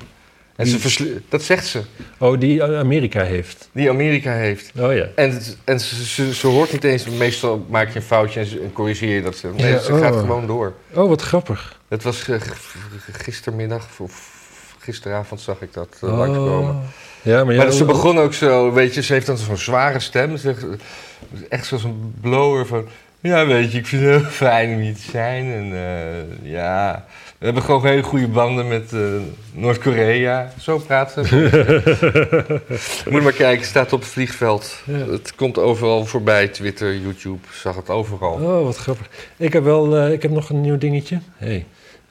S2: En ze
S1: Die-
S2: versli- dat zegt ze,
S1: oh, die Amerika heeft.
S2: die Amerika heeft.
S1: Oh ja.
S2: En, het- en ze, ze, ze hoort niet eens, meestal maak je een foutje en, ze- en corrigeer je dat. Ze, nee,
S1: Ja,
S2: ze gaat
S1: oh.
S2: gewoon door.
S1: Oh, wat grappig.
S2: Het was ge- g- gistermiddag of gisteravond zag ik dat eh, langskomen.
S1: Oh. Ja, maar,
S2: Maar
S1: ja,
S2: ze begon ook zo, weet je, ze heeft dan zo'n zware stem. Ze zegt, echt zoals een blower van... Ja, weet je, ik vind het heel fijn om hier te zijn. En eh, ja, we hebben gewoon hele goede banden met eh, Noord-Korea. Zo praat ze. Moet je maar kijken, het staat op het vliegveld.
S1: Ja.
S2: Het komt overal voorbij. Twitter, YouTube, zag het overal.
S1: Oh, wat grappig. Ik heb, wel, eh, ik heb nog een nieuw dingetje. Hey.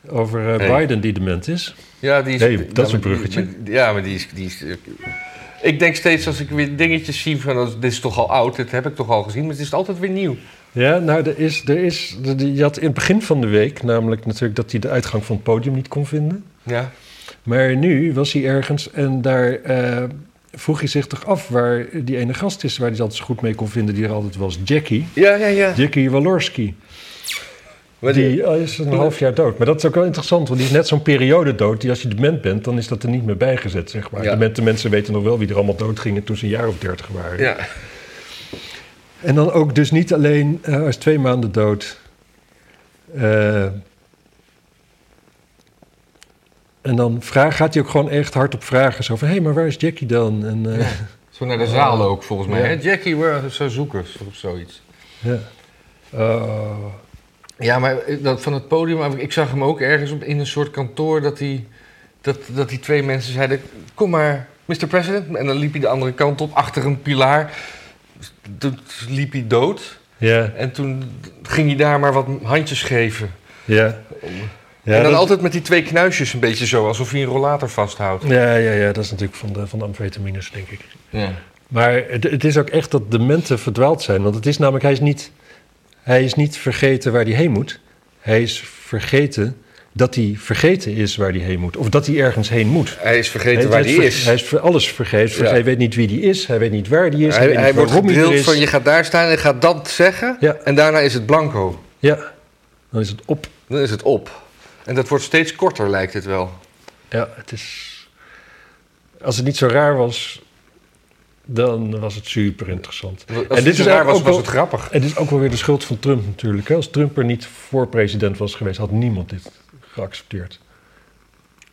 S1: Over eh,
S2: Hey.
S1: Biden die dement is.
S2: Ja, die is,
S1: Nee, dat
S2: ja,
S1: is een
S2: maar die-
S1: bruggetje.
S2: maar- ja, maar die is, die is... eh, Ik denk steeds als ik weer dingetjes zie van... oh, Dit is toch al oud, dit heb ik toch al gezien. Maar het is altijd weer nieuw.
S1: Ja, nou, er is, er is, er- je had in het begin van de week namelijk natuurlijk dat hij de uitgang van het podium niet kon vinden.
S2: Ja.
S1: Maar nu was hij ergens en daar eh, vroeg hij zich toch af waar die ene gast is waar hij het altijd zo goed mee kon vinden, die er altijd was, Jackie.
S2: Ja, ja, ja.
S1: Jackie Walorski.
S2: Maar
S1: die
S2: die-
S1: eh, is een half jaar dood. Maar dat is ook wel interessant, want die is net zo'n periode dood. Die als je dement bent, dan is dat er niet meer bijgezet, zeg maar.
S2: Ja.
S1: Demente mensen weten nog wel wie er allemaal dood gingen toen ze een jaar of dertig waren.
S2: ja.
S1: En dan ook dus niet alleen eh, hij is twee maanden dood. Eh, en dan vraag, gaat hij ook gewoon echt hard op vragen. Zo van, hé, hey, maar waar is Jackie dan? En, eh,
S2: Zo naar de zaal ook, volgens mij.
S1: Ja.
S2: hè? Jackie, we zo zoekers of zoiets.
S1: ja. Oh.
S2: Ja, maar eh, dat van het podium... maar Ik zag hem ook ergens op, in een soort kantoor dat die, dat, dat die twee mensen zeiden... Kom maar, Mr. President. En dan liep hij de andere kant op, achter een pilaar. Toen liep hij dood.
S1: ja,
S2: En toen ging hij daar maar wat handjes geven.
S1: ja. Ja,
S2: en dan
S1: dat-
S2: altijd met die twee knuisjes een beetje zo, alsof hij een rollator vasthoudt.
S1: ja, ja, ja, dat is natuurlijk van de, van de amfetamines, denk ik.
S2: Ja.
S1: Maar het, het is ook echt dat de mensen verdwaald zijn. Want het is namelijk, hij is niet, hij is niet vergeten waar hij heen moet. Hij is vergeten dat hij vergeten is waar hij heen moet. Of dat hij ergens heen moet.
S2: Hij is vergeten
S1: Hij-
S2: waar
S1: hij
S2: hij
S1: ver-
S2: is.
S1: Hij is ver- alles vergeten.
S2: Ja.
S1: Hij weet niet wie die is. Hij weet niet waar die is. Hij,
S2: Hij,
S1: weet niet
S2: hij wordt
S1: waarom hij er
S2: gedrild
S1: is.
S2: van je gaat daar staan en gaat dat zeggen.
S1: Ja.
S2: En daarna is het blanco.
S1: Ja, dan is het op.
S2: Dan is het op. En dat wordt steeds korter, lijkt het wel.
S1: Ja, het is... Als het niet zo raar was, dan was het super interessant.
S2: Als
S1: dit
S2: het
S1: is
S2: zo raar
S1: eigenlijk
S2: was,
S1: ook wel-
S2: was het grappig.
S1: Het is ook wel weer de schuld van Trump natuurlijk. hè. Als Trump er niet voor president was geweest, had niemand dit geaccepteerd.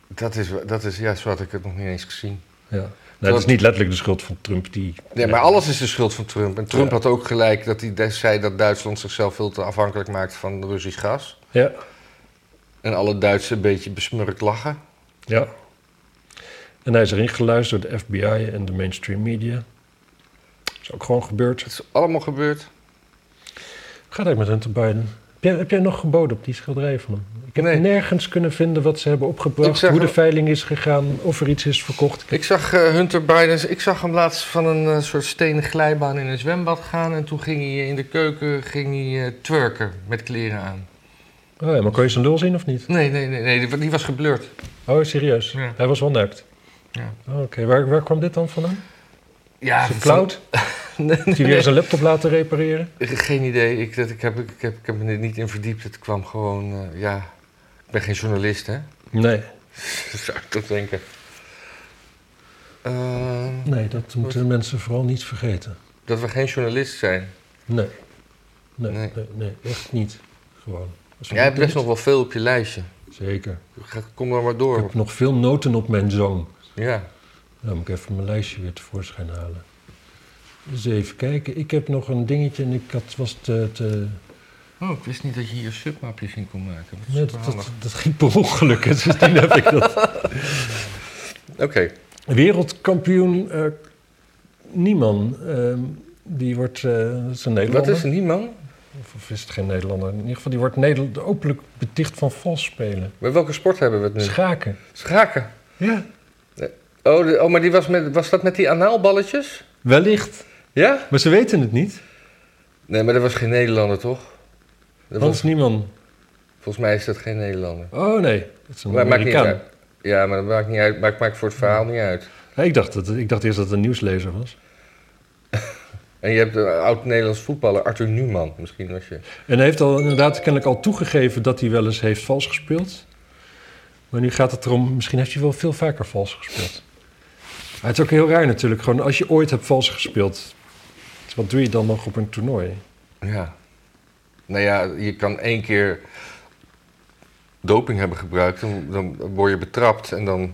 S2: Dat is, dat is ja, zo had ik het nog niet eens gezien.
S1: Ja. Nou, het is niet letterlijk de schuld van Trump die.
S2: Nee, maar alles is de schuld van Trump. En Trump
S1: Ja.
S2: had ook gelijk dat hij des- zei dat Duitsland zichzelf veel te afhankelijk maakt van Russisch gas.
S1: Ja,
S2: En alle Duitsers een beetje besmurkt lachen.
S1: ja. En hij is erin geluisterd door de FBI en de mainstream media. Dat is ook gewoon gebeurd.
S2: Het is allemaal gebeurd.
S1: Gaat eigenlijk met Hunter Biden. Heb jij, heb jij nog geboden op die schilderij van hem? Ik heb
S2: Nee.
S1: nergens kunnen vinden wat ze hebben
S2: Ik
S1: opgebracht,
S2: zag
S1: hoe de
S2: hem-
S1: veiling is gegaan, of er iets is verkocht.
S2: Ik zag eh, Hunter Biden, ik zag hem laatst van een eh, soort stenen glijbaan in een zwembad gaan. En toen ging hij in de keuken ging hij, eh, twerken met eh, kleren aan.
S1: Oh ja, maar kon je zijn lul zien of niet?
S2: Nee, nee, nee, nee die, die was geblurred.
S1: Oh, serieus?
S2: Ja.
S1: Hij was wel nekt.
S2: Ja.
S1: Oké, waar, waar kwam dit dan vandaan?
S2: Ja,
S1: Zijn cloud?
S2: van- Nee,
S1: Heeft hij weer
S2: nee.
S1: zijn laptop laten repareren?
S2: Geen idee. Ik, dat, ik, heb, ik, heb, ik heb me er niet in verdiept. Het kwam gewoon, eh, ja. Ik ben geen journalist, hè?
S1: Nee.
S2: Zou ik toch denken. Eh,
S1: Nee, dat moeten mensen vooral niet vergeten.
S2: dat we geen journalist zijn.
S1: Nee. Nee, nee,
S2: Nee.
S1: nee, echt niet. Gewoon. Als we
S2: Jij hebt
S1: dit-
S2: best nog wel veel op je lijstje.
S1: Zeker.
S2: Ga- Kom dan maar
S1: Ik
S2: door.
S1: heb nog veel noten op mijn zoon.
S2: Ja.
S1: Nou, moet ik even mijn lijstje weer tevoorschijn halen. Dus even kijken. Ik heb nog een dingetje en ik had, was te... te
S2: Oh, ik wist niet dat je hier submapjes in kon maken. Dat is
S1: nee, dat, dat,
S2: superhandig.
S1: dat ging per ongeluk. hè, Sindsdien heb ik dat.
S2: Oké.
S1: Wereldkampioen eh Nieman. ehm, die wordt... eh dat is een
S2: Wat
S1: Nederlander.
S2: is die man?
S1: Of, of is het geen Nederlander? In ieder geval, die wordt Nederland openlijk beticht van vals spelen.
S2: Met welke sport hebben we het nu?
S1: Schaken.
S2: Schaken.
S1: Ja.
S2: Oh, de- oh maar die was, met, was dat met die anaalballetjes?
S1: Wellicht.
S2: Ja?
S1: Maar ze weten het niet.
S2: Nee, maar dat was geen Nederlander, toch? Dat
S1: Hans
S2: was,
S1: Nieman.
S2: volgens mij is dat geen Nederlander.
S1: Oh nee, dat is een
S2: Maar maakt niet
S1: Amerikaan.
S2: uit. Ja, maar dat maakt niet uit. Maakt, maakt voor het verhaal niet uit.
S1: Ja, ik, dacht dat, ik dacht eerst dat het een nieuwslezer was.
S2: En je hebt een oud-Nederlands voetballer, Arthur Newman. Misschien was je...
S1: En hij heeft al inderdaad kennelijk al toegegeven dat hij wel eens heeft vals gespeeld. Maar nu gaat het erom, misschien heeft hij wel veel vaker vals gespeeld. Maar het is ook heel raar natuurlijk, gewoon als je ooit hebt vals gespeeld. Wat doe je dan nog op een toernooi?
S2: Ja. Nou ja, je kan één keer doping hebben gebruikt. Dan, dan word je betrapt en dan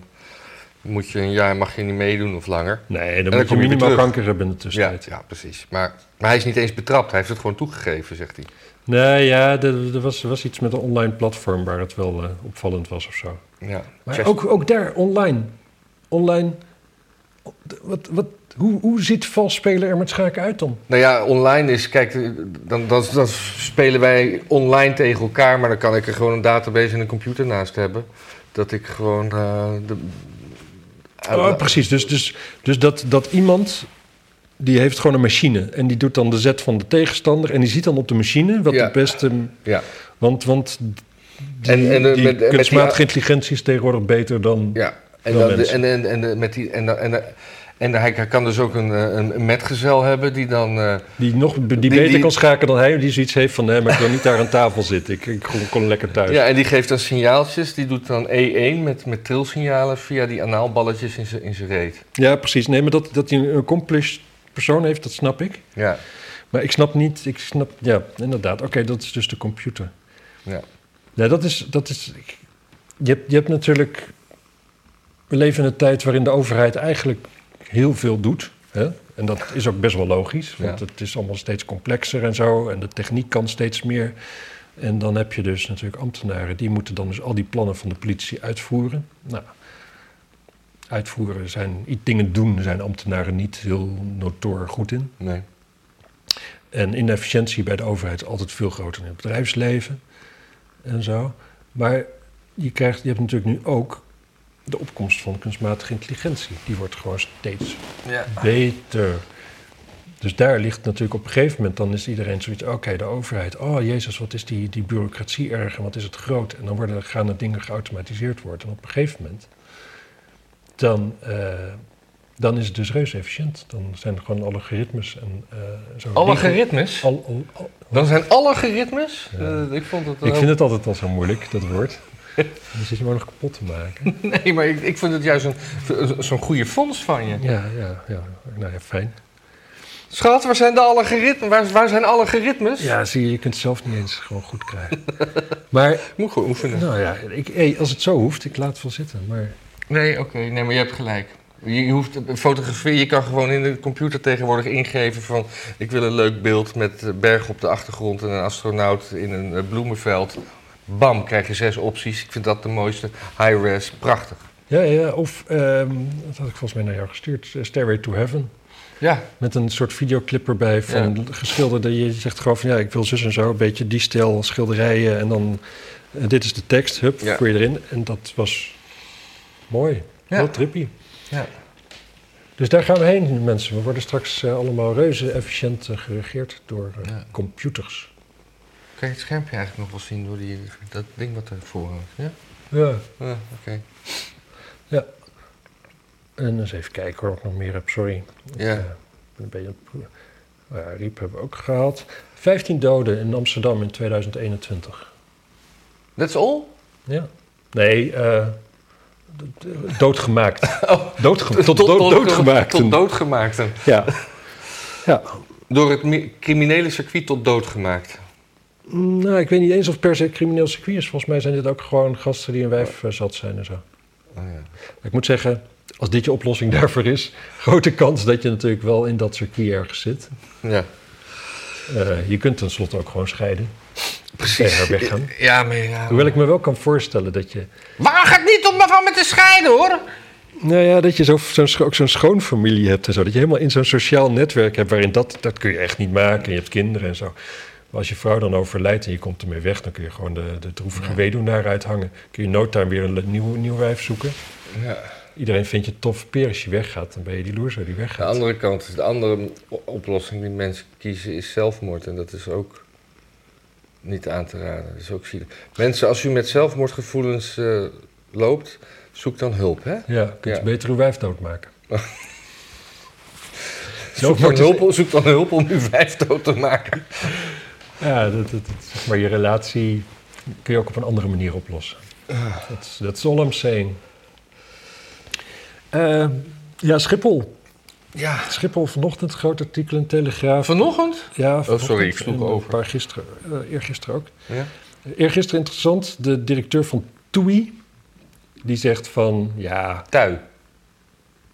S2: moet je een jaar mag je niet meedoen of langer.
S1: Nee, dan
S2: dan
S1: moet je
S2: kom je weer
S1: minimaal
S2: terug.
S1: kanker hebben in de
S2: Ja,
S1: tussentijd.
S2: ja, precies. Maar, maar hij is niet eens betrapt. Hij heeft het gewoon toegegeven, zegt hij.
S1: Nee, ja, er, er was, er was iets met een online platform waar het wel eh, opvallend was of zo.
S2: Ja.
S1: Maar
S2: Chess-
S1: ook, ook daar, online. Online. Wat, wat, hoe, hoe ziet vals spelen er met schaken uit dan?
S2: Nou ja, online is, kijk, dan, dan, dan spelen wij online tegen elkaar, maar dan kan ik er gewoon een database en een computer naast hebben. Dat ik gewoon eh, de.
S1: Oh,
S2: Eh,
S1: precies. Dus, dus, dus dat, dat iemand. die heeft gewoon een machine. En die doet dan de zet van de tegenstander. En die ziet dan op de machine wat
S2: Ja.
S1: de beste.
S2: Ja.
S1: Want, want die,
S2: En- en, eh,
S1: die
S2: met- met die-
S1: kunstmatige intelligentie is tegenwoordig beter dan.
S2: Ja, en,
S1: Wel
S2: dan de,
S1: mensen.
S2: en, en, en de- met die, en, dan- en, dan- en hij, hij kan dus ook een, eh, een, een metgezel hebben die dan... eh,
S1: die nog die
S2: Die-
S1: beter
S2: die-
S1: kan schaken dan hij. die zoiets heeft van. nee, maar ik wil niet daar aan tafel zitten. Ik, ik kon- kon lekker thuis.
S2: ja, en die geeft dan signaaltjes. Die doet dan E1 met, met trilsignalen via die anaalballetjes in zijn in zijn reet.
S1: Ja, precies. Nee, maar dat, dat hij een accomplished persoon heeft, dat snap ik.
S2: Ja,
S1: Maar ik snap niet, ik snap, ja, inderdaad. Oké, dat is dus de computer.
S2: ja.
S1: Ja, dat is, dat is ik- je, hebt, je hebt natuurlijk, we leven in een tijd waarin de overheid eigenlijk heel veel doet. Hè? En dat is ook best wel logisch, want
S2: Ja.
S1: het is allemaal steeds complexer en zo. En de techniek kan steeds meer. En dan heb je dus natuurlijk ambtenaren, die moeten dan dus al die plannen van de politie uitvoeren. Nou, uitvoeren zijn, iets dingen doen zijn ambtenaren niet heel notoor goed in.
S2: Nee.
S1: En inefficiëntie bij de overheid is altijd veel groter in het bedrijfsleven en zo. Maar je, krijgt, je hebt natuurlijk nu ook de opkomst van kunstmatige intelligentie. Die wordt gewoon steeds
S2: Ja.
S1: beter. Dus daar ligt natuurlijk op een gegeven moment, dan is iedereen zoiets, oké, de overheid, oh jezus, wat is die, die bureaucratie erg en wat is het groot. En dan worden, gaan er dingen geautomatiseerd worden. En op een gegeven moment, dan, eh, dan is het dus reuze efficiënt. Dan zijn er gewoon algoritmes en eh zo. dingen-
S2: Algoritmes?
S1: al- al- al-
S2: Dan zijn algoritmes?
S1: Ja.
S2: Eh, ik vond het...
S1: ik
S2: wel-
S1: vind het altijd al zo moeilijk, dat woord. Dan zit je maar nog kapot te maken.
S2: Nee, maar ik, ik vind het juist een- zo'n goede fonds van je.
S1: Ja, ja, ja. Nou ja, fijn.
S2: Schat, waar zijn de algoritmes? Waar, waar zijn algoritmes?
S1: Ja, zie je, je kunt het zelf niet eens gewoon goed krijgen. Maar,
S2: Moet gewoon oefenen.
S1: nou ja, ik, hey, als het zo hoeft, ik laat het wel zitten. Maar
S2: Nee, oké. Nee, maar je hebt gelijk. Je, je hoeft fotografie, je kan gewoon in de computer tegenwoordig ingeven van... ik wil een leuk beeld met eh, berg op de achtergrond en een astronaut in een eh, bloemenveld. Bam, krijg je zes opties. Ik vind dat de mooiste. High-res, prachtig.
S1: ja, ja, of, ehm, dat had ik volgens mij naar jou gestuurd, eh, Stairway to Heaven.
S2: Ja,
S1: Met een soort videoclip erbij van geschilderde. Je zegt gewoon van ja, ik wil zus en zo, een beetje die stijl schilderijen. En dan, eh, dit is de tekst, hup,
S2: Ja.
S1: voor je erin. En dat was mooi,
S2: Ja.
S1: heel trippy.
S2: ja.
S1: Dus daar gaan we heen, mensen. We worden straks eh, allemaal reuze efficiënt eh, geregeerd door eh,
S2: Ja.
S1: computers.
S2: Kan je het schermpje eigenlijk nog wel zien door die, dat ding wat ervoor hangt? Ja?
S1: Ja,
S2: Ah, oké.
S1: en eens even kijken hoor, of ik nog meer heb, sorry.
S2: Ja.
S1: Ik, eh, ben een beetje aan het pro- Ja, Riep hebben we ook gehaald. 15 doden in Amsterdam in 2021.
S2: That's all?
S1: Ja. Nee, eh, d- d- doodgemaakt. Doodge- tot, dood- doodgemaakt.
S2: Oh, Tot doodgemaakt.
S1: Ja. ja.
S2: Door het mi- criminele circuit tot doodgemaakt.
S1: Mm, Nou, ik weet niet eens of per se crimineel circuit is. Volgens mij zijn dit ook gewoon gasten die een wijf eh, zat zijn en zo.
S2: Oh, ja.
S1: Ik moet zeggen, als dit je oplossing daarvoor is, grote kans dat je natuurlijk wel in dat circuit ergens zit.
S2: ja,
S1: Eh, je kunt tenslotte ook gewoon scheiden.
S2: precies.
S1: Ver weggaan.
S2: Ja, maar ja.
S1: Hoewel ik me wel kan voorstellen dat je.
S2: Waarom ga ik niet om van me te scheiden, hoor?
S1: Nou ja, dat je zo, zo'n scho- ook zo'n schoonfamilie hebt en zo. Dat je helemaal in zo'n sociaal netwerk hebt waarin dat, dat kun je echt niet maken. En je hebt kinderen en zo. Maar als je vrouw dan overlijdt en je komt ermee weg, dan kun je gewoon de, de droevige weduwnaar uithangen. Kun je in no time weer een le- nieuw, nieuw wijf zoeken.
S2: Ja.
S1: Iedereen vindt je tof peer als je weggaat. Dan ben je die loser die
S2: De
S1: weggaat.
S2: andere kant, de andere o- oplossing die mensen kiezen is zelfmoord. En dat is ook niet aan te raden. Dat is ook zielig. Mensen, als u met zelfmoordgevoelens eh, loopt, zoek dan hulp, hè?
S1: Ja, kun je
S2: Ja.
S1: het beter uw wijf doodmaken.
S2: Zoek dan,
S1: wordt het-
S2: hulp, zoek dan hulp om uw wijf dood te maken.
S1: Ja, dat, dat, dat- zeg maar je relatie kun je ook op een andere manier oplossen.
S2: Ah.
S1: Dat is- Dat is all I'm saying. Eh, ja, Schiphol.
S2: Ja.
S1: Schiphol vanochtend, groot artikel in Telegraaf.
S2: Vanochtend?
S1: Ja, vanochtend
S2: Oh, ik sloeg
S1: en een
S2: over.
S1: paar gisteren, eh, eergisteren ook.
S2: Ja.
S1: Eergisteren interessant, de directeur van TUI, die zegt van, ja,
S2: Tui.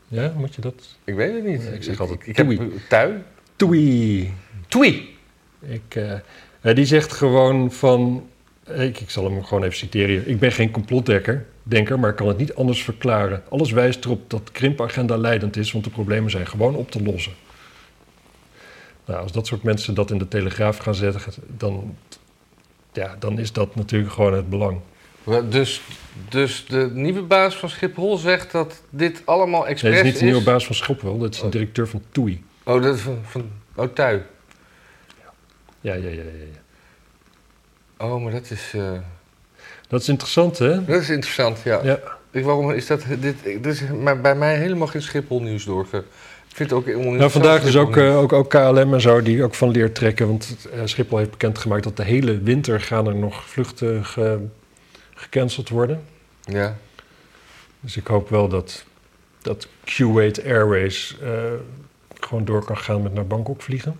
S1: ja moet je dat?
S2: Ik weet het niet.
S1: Nee, ik zeg altijd
S2: ik, ik heb
S1: toei.
S2: tui.
S1: TUI.
S2: Tui.
S1: Ik, eh, eh, die zegt gewoon van, eh, ik, ik zal hem gewoon even citeren. Ik ben geen complotdenker, denker, maar kan het niet anders verklaren. Alles wijst erop dat de krimpagenda leidend is, want de problemen zijn gewoon op te lossen. Nou, als dat soort mensen dat in de Telegraaf gaan zetten, dan, ja, dan is dat natuurlijk gewoon het belang.
S2: Wel, Dus, dus de nieuwe baas van Schiphol zegt dat dit allemaal
S1: Hij
S2: expres
S1: is niet de nieuwe baas van Schiphol, dat is de
S2: Oh.
S1: directeur van TUI.
S2: Oh, dat is van, van oh, tui.
S1: Ja, ja, ja, ja. ja.
S2: Oh, maar dat is, eh,
S1: Dat is interessant, hè?
S2: dat is interessant, ja.
S1: Ja.
S2: Ik, waarom is dat, dit, dit is maar bij mij helemaal geen Schiphol nieuws doorge... Ik vind het ook helemaal
S1: Nou, vandaag dus ook,
S2: Schiphol
S1: eh, ook, ook KLM en zo die ook van leer trekken. Want eh, Schiphol heeft bekendgemaakt dat de hele winter gaan er nog vluchten ge- gecanceld worden.
S2: nieuws. Ja.
S1: Dus ik hoop wel dat, dat Kuwait Airways eh, gewoon door kan gaan met naar Bangkok vliegen.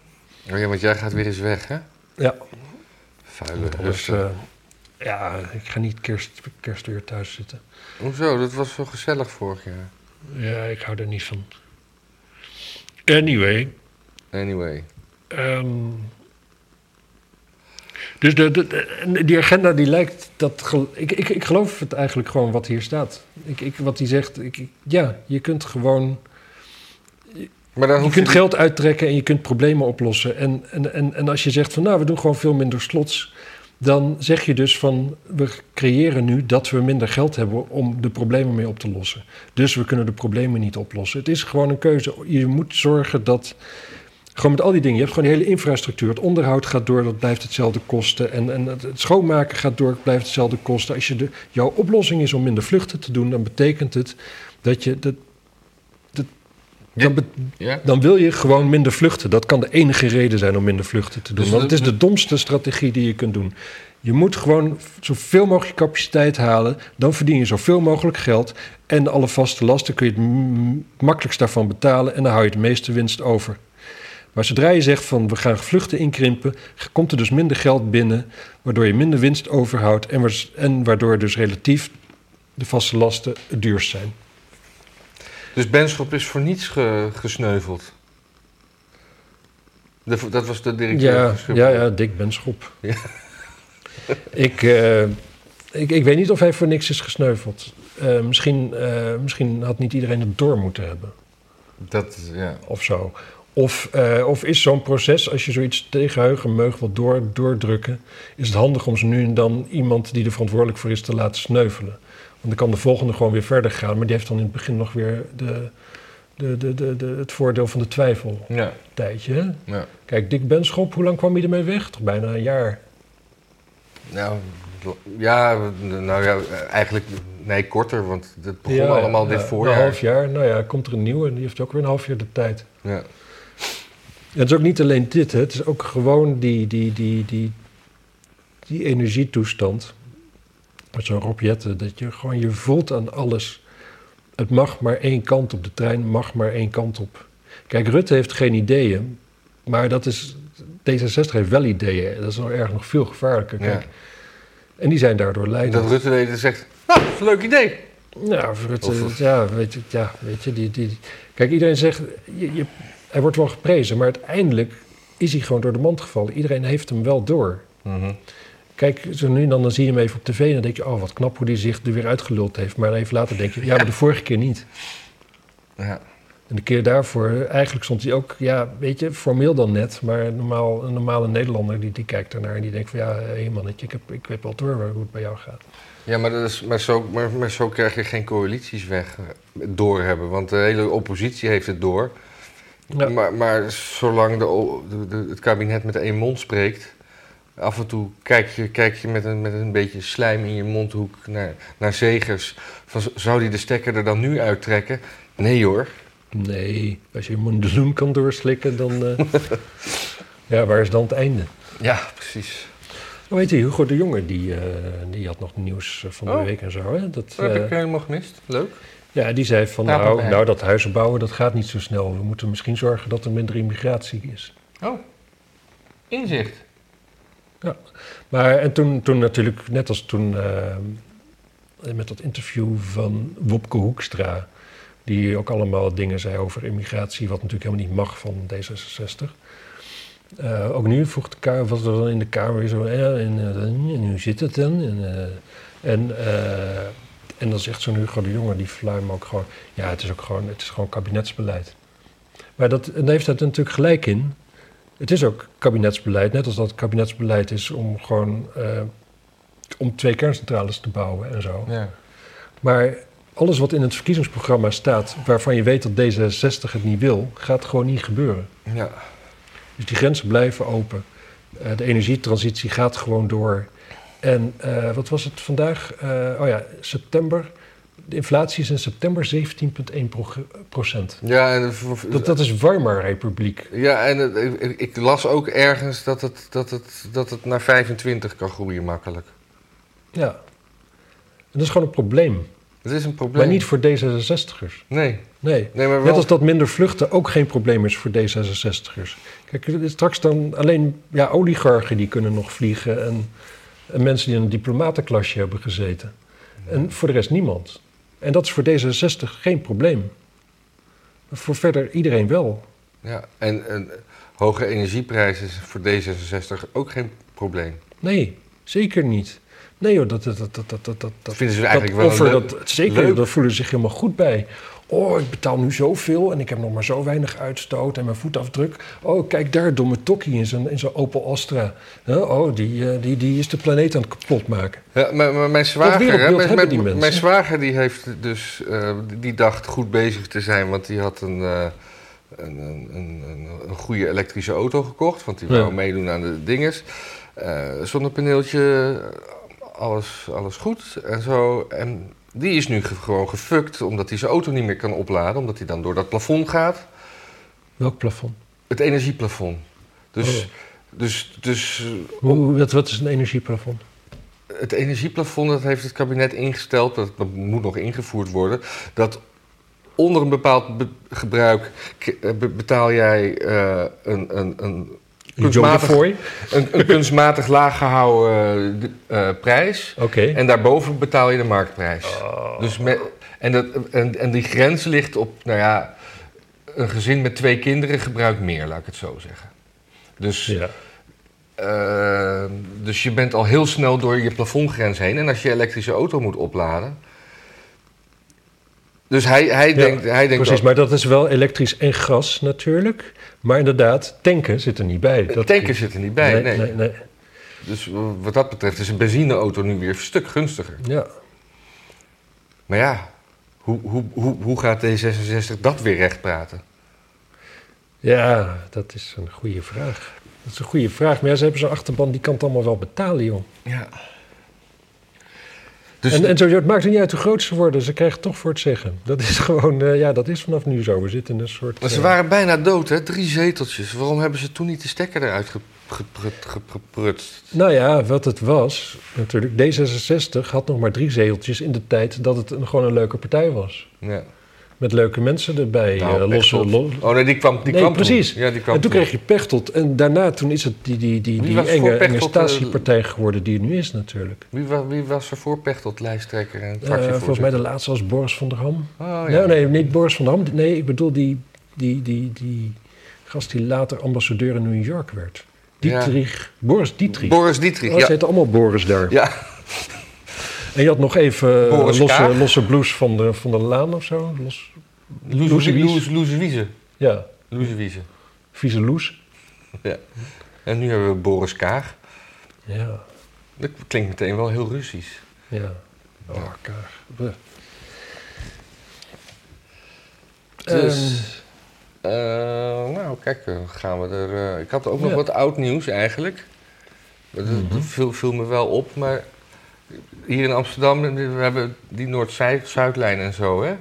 S2: Oh ja, want jij gaat weer eens weg, hè?
S1: Ja.
S2: Vuile
S1: Want anders,
S2: Russen.
S1: eh, ja, ik ga niet kerst, kerst weer thuis zitten.
S2: Hoezo? Dat was zo gezellig vorig jaar.
S1: Ja, ik hou er niet van. Anyway,
S2: Anyway.
S1: Ehm, dus de, de- de- die agenda die lijkt dat. gel- Ik, ik, ik geloof het eigenlijk gewoon wat hier staat. Ik, ik, wat hij zegt. Ik, ik- ja, je kunt gewoon.
S2: Maar dan
S1: Je
S2: hoef
S1: kunt
S2: niet-
S1: geld uittrekken en je kunt problemen oplossen. En, en, en, en als je zegt van nou, we doen gewoon veel minder slots. Dan zeg je dus van we creëren nu dat we minder geld hebben om de problemen mee op te lossen. Dus we kunnen de problemen niet oplossen. Het is gewoon een keuze. Je moet zorgen dat. Gewoon met al die dingen. Je hebt gewoon die hele infrastructuur. Het onderhoud gaat door, dat blijft hetzelfde kosten. En, en het het schoonmaken gaat door, het blijft hetzelfde kosten. Als je de, jouw oplossing is om minder vluchten te doen, dan betekent het dat je. Dat, dat, dan, be-
S2: Ja?
S1: dan wil je gewoon minder vluchten. Dat kan de enige reden zijn om minder vluchten te doen.
S2: Dus
S1: Want het
S2: dat-
S1: is de domste strategie die je kunt doen. Je moet gewoon zoveel mogelijk capaciteit halen. Dan verdien je zoveel mogelijk geld. En alle vaste lasten kun je het m- makkelijkst daarvan betalen. En dan hou je het meeste winst over. Maar zodra je zegt van we gaan vluchten inkrimpen, komt er dus minder geld binnen, waardoor je minder winst overhoudt en, waars- en waardoor dus relatief de vaste lasten het duurst zijn.
S2: Dus Benschop is voor niets ge- gesneuveld. De- dat was de directeur
S1: Ja,
S2: van Schiphol.
S1: ja, ja, Dick Benschop.
S2: eh, Ja.
S1: ik, eh, ik, ik weet niet of hij voor niks is gesneuveld. Eh, misschien, eh, misschien had niet iedereen het door moeten hebben
S2: Dat, ja.
S1: of zo. Of, eh, of is zo'n proces, als je zoiets tegen heugenmeug wilt door, doordrukken, is het handig om ze nu en dan iemand die er verantwoordelijk voor is te laten sneuvelen. Want dan kan de volgende gewoon weer verder gaan, maar die heeft dan in het begin nog weer de, de, de, de, de- het voordeel van de twijfel.
S2: Ja,
S1: Tijdje. hè?
S2: ja.
S1: Kijk, Dick Benschop, hoe lang kwam hij ermee weg? Toch bijna een jaar.
S2: Nou, ja, nou ja, eigenlijk nee, korter, want het begon
S1: Ja,
S2: allemaal
S1: ja,
S2: dit
S1: Een
S2: voorjaar.
S1: half jaar. Nou ja, komt er een nieuwe en die heeft ook weer een half jaar de tijd.
S2: Ja.
S1: Ja, het is ook niet alleen dit, hè. het is ook gewoon die, die, die, die, die energietoestand. Met zo'n robjetten, dat je gewoon je voelt aan alles. Het mag maar één kant op, de trein mag maar één kant op. Kijk, Rutte heeft geen ideeën, maar dat is, D66 heeft wel ideeën. Dat is nog erg nog veel gevaarlijker.
S2: Ja.
S1: Kijk. En die zijn daardoor
S2: En
S1: leidend.
S2: dat Rutte deed en zegt, ah, is een leuk idee.
S1: Ja, Nou, voor het, eh,
S2: Of-
S1: ja, weet je, ja, weet je die, die, kijk, iedereen zegt, je, je, hij wordt wel geprezen, maar uiteindelijk is hij gewoon door de mand gevallen. Iedereen heeft hem wel door. Kijk, zo nu en dan, dan zie je hem even op tv en dan denk je, oh, wat knap hoe hij zich er weer uitgeluld heeft. Maar even later denk je, ja, maar de vorige keer niet.
S2: Ja.
S1: En de keer daarvoor, eh, eigenlijk stond hij ook, ja, weet je, formeel dan net, maar normaal, een normale Nederlander die, die kijkt ernaar en die denkt van, ja, hé mannetje, ik, heb, ik weet wel door hoe het bij jou gaat.
S2: Ja, maar, dat is, maar, zo, maar, maar zo krijg je geen coalities weg eh, doorhebben. Want de hele oppositie heeft het door.
S1: Ja.
S2: Maar, maar zolang de, o- de- de- het kabinet met één mond spreekt... af en toe kijk je, kijk je met, een, met een beetje slijm in je mondhoek naar, naar Zegers. Van, z- zou die de stekker er dan nu uittrekken? Nee hoor.
S1: Nee, als je Mondeloem kan doorslikken, dan... eh, ja, waar is dan het einde?
S2: Ja, precies.
S1: Hoe heet die? Hugo de Jonge, die, eh, die had nog nieuws eh, van de
S2: Oh.
S1: week en zo. Hè? Dat,
S2: Dat heb
S1: eh,
S2: ik helemaal gemist. Leuk.
S1: ja, die zei van,
S2: Laat maar
S1: nou,
S2: bij.
S1: nou, dat huizen bouwen, dat gaat niet zo snel. We moeten misschien zorgen dat er minder immigratie is.
S2: Oh, inzicht.
S1: Maar en toen, toen natuurlijk, net als toen eh, met dat interview van Wopke Hoekstra... die ook allemaal dingen zei over immigratie... wat natuurlijk helemaal niet mag van D66. Eh, ook nu vroeg de Kamer, was er dan in de Kamer weer zo... eh, en, eh, en hoe zit het dan? En, eh, en, eh, en dan zegt zo'n Hugo de Jonge, die fluim ook gewoon... ja, het is ook gewoon, het is gewoon kabinetsbeleid. Maar dat, en daar heeft hij natuurlijk gelijk in... Het is ook kabinetsbeleid, net als dat het kabinetsbeleid is om gewoon eh, om twee kerncentrales te bouwen en zo.
S2: Ja.
S1: Maar alles wat in het verkiezingsprogramma staat, waarvan je weet dat D66 het niet wil, gaat gewoon niet gebeuren.
S2: ja.
S1: Dus die grenzen blijven open. Eh, de energietransitie gaat gewoon door. En eh, wat was het vandaag? Eh, oh ja, september. De inflatie is in september 17,1 pro- procent.
S2: Ja, en de v-
S1: Dat, dat is Weimar-republiek.
S2: Ja, en het- ik- ik, ik las ook ergens dat het, dat, het, dat het naar 25 kan groeien makkelijk.
S1: Ja. En dat is gewoon een probleem.
S2: Dat is een probleem.
S1: Maar niet voor D66'ers.
S2: Nee,
S1: Nee.
S2: nee maar
S1: Net
S2: wel...
S1: als dat minder vluchten ook geen probleem is voor D66'ers. Kijk, het is straks dan alleen ja, oligarchen die kunnen nog vliegen... En, en mensen die in een diplomatenklasje hebben gezeten. En voor de rest niemand. En dat is voor D66 geen probleem. Maar voor verder iedereen wel.
S2: Ja, en, en hoge energieprijzen is voor D66 ook geen probleem.
S1: Nee, zeker niet. Nee joh, dat... dat, dat, dat, dat, dat,
S2: Dat
S1: dat
S2: vinden ze eigenlijk wel
S1: offer,
S2: een leuk-
S1: dat, zeker,
S2: leuk.
S1: daar voelen ze zich helemaal goed bij. Oh, ik betaal nu zoveel en ik heb nog maar zo weinig uitstoot en mijn voetafdruk. Oh, kijk daar, domme tokkie in zijn, in zijn Opel Astra. Hè, Oh, die, eh, die, die is de planeet aan het kapotmaken.
S2: Ja, maar, maar mijn zwager,
S1: wereldbeeld
S2: hè, mijn,
S1: hebben die
S2: mijn-
S1: mensen.
S2: mijn zwager die heeft dus, eh, die- die dacht goed bezig te zijn, want die had een, eh, een, een, een, een- een goede elektrische auto gekocht, want die
S1: Ja.
S2: wou meedoen aan de dinges. Eh, zonnepaneeltje, alles, alles goed en zo. En die is nu ge- gewoon gefukt, omdat hij zijn auto niet meer kan opladen, omdat hij dan door dat plafond gaat,
S1: Welk plafond?
S2: het energieplafond. Dus,
S1: Oh.
S2: dus, dus
S1: Hoe, hoe- wat, wat is een energieplafond?
S2: Het energieplafond, dat heeft het kabinet ingesteld, dat, dat moet nog ingevoerd worden. Dat onder een bepaald be- gebruik k- eh, be- betaal jij eh, een, een, een, kunstmatig, een,
S1: Jodefooi?
S2: een kunstmatig laag gehouden eh, eh, prijs.
S1: Oké.
S2: En daarboven betaal je de marktprijs.
S1: Oh.
S2: Dus met, en, dat, en, en die grens ligt op, nou ja, een gezin met twee kinderen gebruikt meer, laat ik het zo zeggen. Dus
S1: Ja.
S2: eh, dus je bent al heel snel door je plafondgrens heen. En als je elektrische auto moet opladen. Dus hij, hij
S1: Ja,
S2: denkt. Hij denkt
S1: Precies,
S2: wel-
S1: maar dat is wel elektrisch en gas natuurlijk. Maar inderdaad, tanken zit er niet bij. Dat-
S2: tanken zitten niet bij. Nee,
S1: nee, nee.
S2: Dus wat dat betreft is een benzineauto nu weer een stuk gunstiger.
S1: Ja.
S2: Maar ja, hoe, hoe, hoe, hoe gaat D66 dat weer recht praten?
S1: Ja, dat is een goede vraag. Dat is een goede vraag. Maar ja, ze hebben zo'n achterban, die kan het allemaal wel betalen, joh.
S2: Ja. Dus
S1: en, en zo, het maakt er niet uit hoe groot ze worden. Ze krijgen toch voor het zeggen. Dat is gewoon, eh, ja, dat is vanaf nu zo. We zitten in een soort...
S2: maar ze
S1: eh,
S2: waren bijna dood, hè? Drie zeteltjes. Waarom hebben ze toen niet de stekker eruit ge- geprut- ge- geprutst?
S1: Nou ja, wat het was, natuurlijk, D66 had nog maar drie zeteltjes in de tijd dat het een, gewoon een leuke partij was.
S2: Ja.
S1: Met leuke mensen erbij,
S2: Nou,
S1: eh, losse...
S2: Pechtold.
S1: lo-
S2: Oh nee, die kwam, die
S1: Nee,
S2: kwam
S1: precies.
S2: Toen. Ja, die kwam
S1: en toen
S2: toen.
S1: kreeg je Pechtold. En daarna toen is het die, die, die,
S2: Wie
S1: die
S2: was voor
S1: enge, enge
S2: Pechtold, eh,
S1: statiepartij geworden die het nu is natuurlijk.
S2: Wie, was, wie was er voor Pechtold, lijsttrekker en
S1: Eh, volgens mij
S2: fractievoorzitter?
S1: de laatste was Boris van der Ham.
S2: Oh,
S1: Nee,
S2: ja.
S1: nee, niet Boris van der Ham. Nee, ik bedoel die, die, die, die gast die later ambassadeur in New York werd.
S2: Ja.
S1: Dietrich. Boris Dietrich.
S2: Boris
S1: Oh,
S2: Dietrich,
S1: Ze
S2: ja.
S1: heten allemaal Boris daar.
S2: Ja,
S1: En je had nog even eh,
S2: Boris K.
S1: losse, losse blues van de, van de Laan of zo. Los, Loes-
S2: Loes- Loes- Loes Wiese.
S1: ja,
S2: Loes Wiese.
S1: vieze loes.
S2: En nu hebben we Boris Kaag.
S1: Ja,
S2: Dat klinkt meteen wel heel Russisch.
S1: ja. Oh, kaag. Bleh.
S2: Dus,
S1: Ehm,
S2: eh, nou kijk, eh, gaan we er... eh, ik had ook nog
S1: Ja. Mhm.
S2: wat oud nieuws eigenlijk. Dat, dat viel, viel me wel op, maar hier in Amsterdam, we hebben die Noord-Zuidlijn en zo, hè?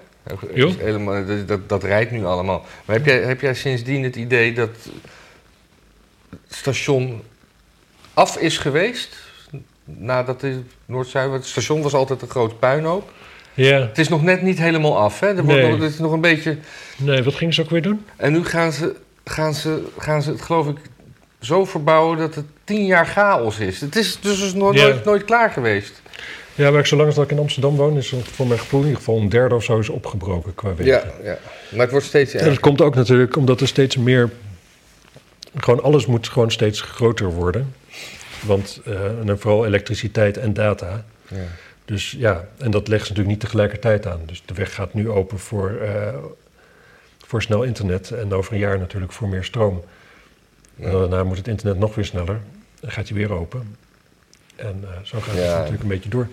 S1: Jo.
S2: Is Helemaal, dat, dat, dat rijdt nu allemaal. Maar heb jij, heb jij sindsdien het idee dat het station af is geweest? Nadat de Noord-Zuid... want Het station was altijd een groot puinhoop.
S1: ja,
S2: Het is nog net niet helemaal af, hè? Er wordt
S1: Nee.
S2: nog, het is nog een beetje...
S1: nee, wat gingen ze ook weer doen?
S2: En nu gaan ze, gaan, ze, gaan ze het, geloof ik, zo verbouwen dat het tien jaar chaos is. Het is dus dus nooit,
S1: Ja.
S2: nooit, nooit klaar geweest.
S1: Ja, maar ik, zolang als dat ik in Amsterdam woon, is het voor mijn gevoel in ieder geval een derde of zo is opgebroken qua wegen.
S2: ja. Maar het wordt steeds
S1: En dat komt ook natuurlijk omdat er steeds meer. Gewoon alles moet gewoon steeds groter worden. Want eh, en dan vooral elektriciteit en data.
S2: Ja.
S1: Dus ja, en dat legt ze natuurlijk niet tegelijkertijd aan. Dus de weg gaat nu open voor, eh, voor snel internet. En over een jaar natuurlijk voor meer stroom. En
S2: Ja.
S1: daarna moet het internet nog weer sneller. Dan gaat hij weer open. En eh, zo gaat het
S2: Ja.
S1: natuurlijk een beetje door.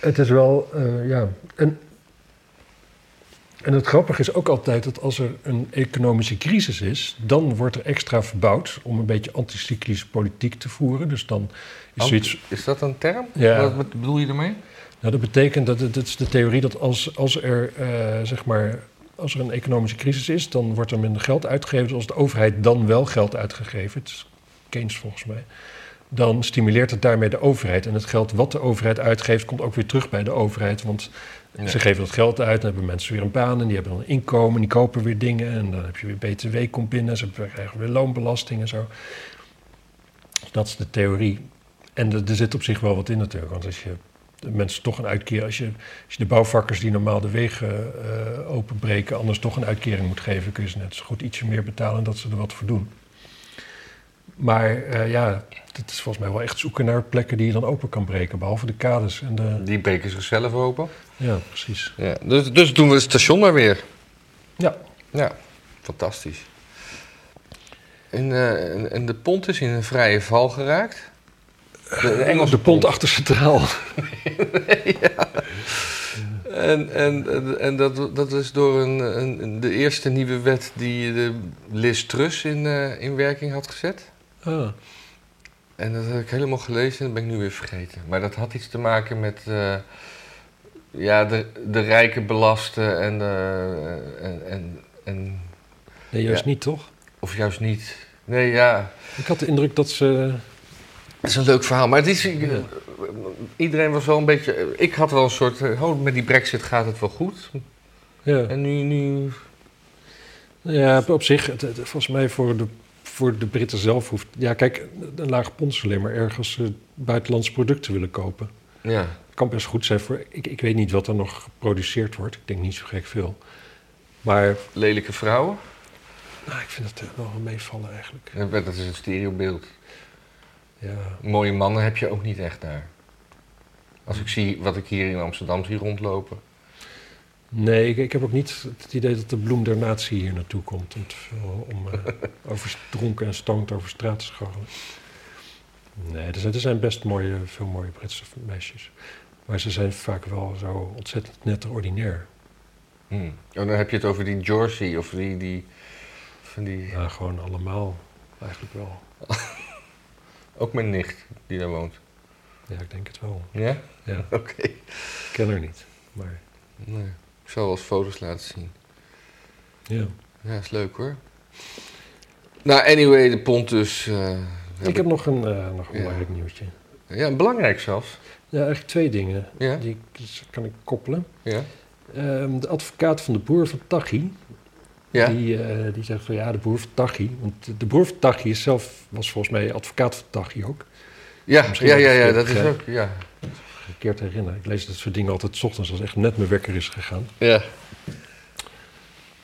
S1: Het is wel, eh, ja. En, en het grappige is ook altijd dat als er een economische crisis is, dan wordt er extra verbouwd om een beetje anticyclische politiek te voeren. Dus dan is
S2: Ant-
S1: zoiets.
S2: Is dat een term?
S1: Ja.
S2: Wat, wat bedoel je ermee?
S1: Nou, dat betekent dat, dat is de theorie dat als, als er, eh, zeg maar, als er een economische crisis is, dan wordt er minder geld uitgegeven. Dus als de overheid dan wel geld uitgegeven, het is Keynes volgens mij, dan stimuleert het daarmee de overheid. En het geld wat de overheid uitgeeft, komt ook weer terug bij de overheid. Want
S2: Ja.
S1: ze geven dat geld uit, dan hebben mensen weer een baan en die hebben dan een inkomen, die kopen weer dingen. En dan heb je weer BTW komt binnen, en ze krijgen weer loonbelasting en zo. Dus dat is de theorie. En er, er zit op zich wel wat in natuurlijk, want als je de mensen toch een uitkering, als je, als je de bouwvakkers die normaal de wegen eh, openbreken, anders toch een uitkering moet geven, kun je ze net zo goed ietsje meer betalen dat ze er wat voor doen. Maar eh, ja, het is volgens mij wel echt zoeken naar plekken die je dan open kan breken, behalve de kades en de...
S2: Die breken zichzelf open.
S1: Ja, precies.
S2: Ja. Dus, dus doen we het station maar weer.
S1: Ja,
S2: Ja, fantastisch. En, eh, en- en de pont is in een vrije val geraakt. De, Eh, de Engelse
S1: de pont achter centraal.
S2: En, en, en- en dat, dat is door een, een, de eerste nieuwe wet die de Liz Truss in, eh, in werking had gezet.
S1: Ah,
S2: En dat heb ik helemaal gelezen en dat ben ik nu weer vergeten. Maar dat had iets te maken met eh, ja, de, de rijken belasten en, eh, en, en, en...
S1: nee, juist niet toch?
S2: Of juist niet. Nee, ja.
S1: Ik had de indruk dat ze...
S2: Dat is een leuk verhaal. Maar het is, eh,
S1: Ja.
S2: iedereen was wel een beetje... Ik had wel een soort... eh, Oh, met die brexit gaat het wel goed.
S1: Ja.
S2: En nu... nu
S1: Ja, op zich, het- het- volgens mij voor de, voor de Britten zelf hoeft... Ja, kijk, een laag pond is alleen maar erg als ze buitenlandse producten willen kopen.
S2: ja.
S1: Het kan best goed zijn voor... Ik, ik weet niet wat er nog geproduceerd wordt. Ik denk niet zo gek veel. Maar
S2: Lelijke vrouwen.
S1: nou, ik vind het eh, wel meevallen eigenlijk.
S2: Ja, Dat is een stereobeeld.
S1: Ja,
S2: Mooie mannen heb je ook niet echt daar. Als ik zie wat ik hier in Amsterdam zie rondlopen.
S1: nee, ik, ik heb ook niet het idee dat de bloem der natie hier naartoe komt... om, te veel- om eh, over dronken en stoned over straat te scharrelen. Nee, er zijn, er zijn best mooie, veel mooie Britse meisjes. Maar ze zijn vaak wel zo ontzettend net ordinair.
S2: Oh, Hmm. En dan heb je het over die Jersey of die, die Van die,
S1: Ja, gewoon allemaal eigenlijk wel.
S2: Ook mijn nicht die daar woont.
S1: Ja, ik denk het wel.
S2: Ja?
S1: Ja,
S2: Oké.
S1: ik ken haar niet. Maar
S2: Nee. Ik zal wel eens foto's laten zien.
S1: ja.
S2: Ja, is leuk hoor. Nou, anyway, de pont dus. eh, heb
S1: Ik heb nog een, eh, nog een
S2: Ja.
S1: belangrijk nieuwtje.
S2: Ja, belangrijk zelfs.
S1: Ja, eigenlijk twee dingen.
S2: Ja,
S1: Die kan ik koppelen.
S2: ja.
S1: Ehm, de advocaat van de boer van Tachi,
S2: Ja,
S1: Die, eh, die zegt van ja, de boer van Tachi. Want de boer van Tachi is zelf, was volgens mij advocaat van Tachi ook.
S2: ja,
S1: misschien
S2: ja,
S1: heb
S2: ja,
S1: ik
S2: ja,
S1: het
S2: dat is
S1: begrepen.
S2: ook, ja.
S1: Verkeerd herinneren. Ik lees dat soort dingen altijd 's ochtends als echt net mijn wekker is gegaan.
S2: Ja,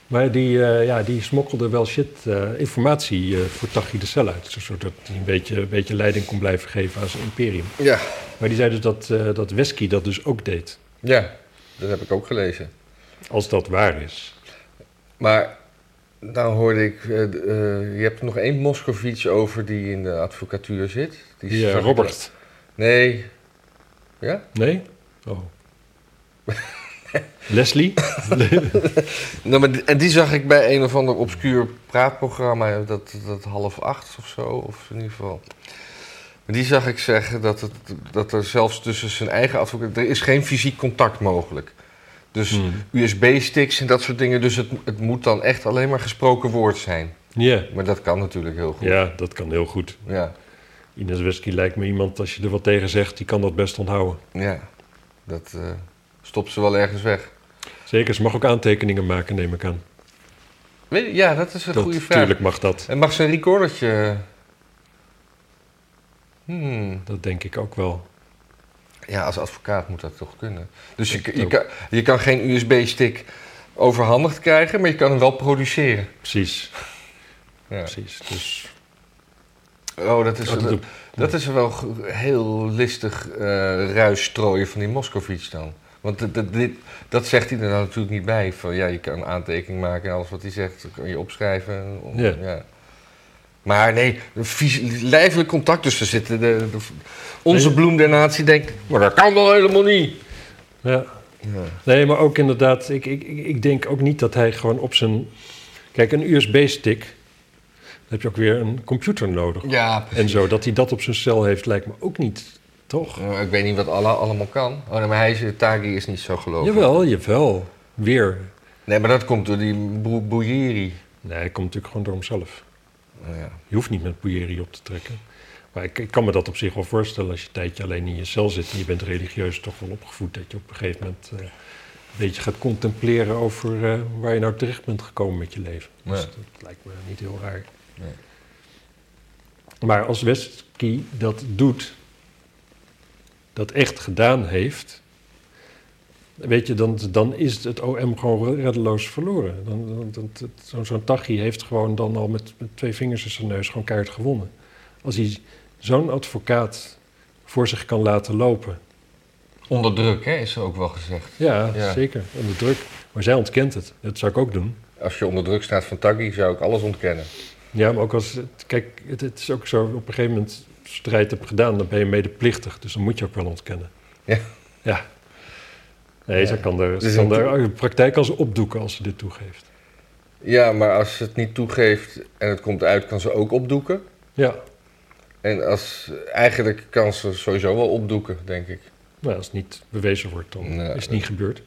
S1: Maar die, eh, ja, die smokkelde wel shit eh, informatie eh, voor Tachi de cel uit. Zodat hij een beetje, een beetje leiding kon blijven geven aan zijn imperium.
S2: ja,
S1: Maar die zei dus dat, eh dat Wesky dat dus ook deed.
S2: ja. Dat heb ik ook gelezen.
S1: Als dat waar is.
S2: Maar nou hoorde ik, eh, d- eh, je hebt nog één Moscovici over die in de advocatuur zit. Die
S1: Die eh,
S2: zag ik-
S1: Robert.
S2: Nee. Ja?
S1: Nee? Oh. Leslie?
S2: Nou, maar die- en die zag ik bij een of ander obscuur praatprogramma, dat, dat half acht of zo, of in ieder geval. Maar die zag ik zeggen dat, het, dat er zelfs tussen zijn eigen advocaat, er is geen fysiek contact mogelijk. Dus
S1: Hmm.
S2: USB-sticks en dat soort dingen, dus het, het moet dan echt alleen maar gesproken woord zijn.
S1: Ja.
S2: Maar dat kan natuurlijk heel goed.
S1: Ja, dat kan heel goed.
S2: Ja,
S1: Ines Wesky lijkt me iemand, als je er wat tegen zegt, die kan dat best onthouden.
S2: ja. dat eh, stopt ze wel ergens weg.
S1: Zeker, ze mag ook aantekeningen maken, neem ik aan.
S2: Weet je, ja, dat is een
S1: Dat-
S2: goede vraag.
S1: Tuurlijk mag dat.
S2: En mag ze een recordertje... eh, Hmm.
S1: Dat denk ik ook wel.
S2: Ja, als advocaat moet dat toch kunnen. Dus je,
S1: Ik
S2: je,
S1: ook.
S2: kan, je kan geen USB-stick overhandigd krijgen, maar je kan hem wel produceren.
S1: Precies,
S2: Ja.
S1: precies. Dus
S2: Oh, dat is,
S1: Oh, dat
S2: dat,
S1: doe-
S2: dat is wel g- heel listig eh ruis strooien van die Moscovici dan. Want dit- dit- dit- dat zegt hij er nou natuurlijk niet bij. Van, ja, je kan een aantekening maken en alles wat hij zegt kan je opschrijven. Om-
S1: Ja.
S2: Ja. Maar nee, fysi- lijfelijk contact tussen zitten. De, de- onze
S1: Nee.
S2: bloem der natie denkt, maar dat kan wel helemaal niet.
S1: ja.
S2: Ja.
S1: Nee, maar ook inderdaad, ik, ik, ik ik denk ook niet dat hij gewoon op zijn. Kijk, een USB-stick, dan heb je ook weer een computer nodig.
S2: ja,
S1: En zo, dat hij dat op zijn cel heeft, lijkt me ook niet, toch?
S2: Nou, ik weet niet wat Allah allemaal kan. Oh, nee, maar hij is, Tagi is niet zo geloofd.
S1: Jawel, jawel. Weer.
S2: Nee, maar dat komt door die Bou- Bouyeri.
S1: Nee, hij komt natuurlijk gewoon door hemzelf.
S2: Nou ja.
S1: Je hoeft niet met poeieri op te trekken. Maar ik, ik kan me dat op zich wel voorstellen als je een tijdje alleen in je cel zit en je bent religieus toch wel opgevoed, dat je op een gegeven moment eh, een beetje gaat contempleren over eh, waar je nou terecht bent gekomen met je leven. Dus
S2: Ja.
S1: dat lijkt me niet heel raar.
S2: Nee.
S1: Maar als Westky dat doet, dat echt gedaan heeft, weet je, dan, dan is het OM gewoon reddeloos verloren. Dan, dan, dan- dat- Zo'n zo'n Tachi heeft gewoon dan al met, met twee vingers in zijn neus gewoon keihard gewonnen. Als hij zo'n advocaat voor zich kan laten lopen.
S2: Onder druk, hè, is er ook wel gezegd.
S1: Ja,
S2: Ja.
S1: zeker, onder druk. Maar zij ontkent het. Dat zou ik ook doen.
S2: Als je onder druk staat van Taghi, zou ik alles ontkennen.
S1: Ja, maar ook als... het- Kijk, het, het is ook zo, op een gegeven moment, als je strijd hebt gedaan, dan ben je medeplichtig. Dus dan moet je ook wel ontkennen.
S2: Ja.
S1: Ja. Nee,
S2: Ja.
S1: zij kan daar,
S2: Dus
S1: ze kan
S2: een-
S1: daar, de praktijk kan ze opdoeken als ze dit toegeeft.
S2: Ja, maar als ze het niet toegeeft en het komt uit, kan ze ook opdoeken.
S1: Ja,
S2: En als, eigenlijk kan ze sowieso wel opdoeken, denk ik.
S1: nou, als het niet bewezen wordt, dan
S2: Nee,
S1: is het niet gebeurd.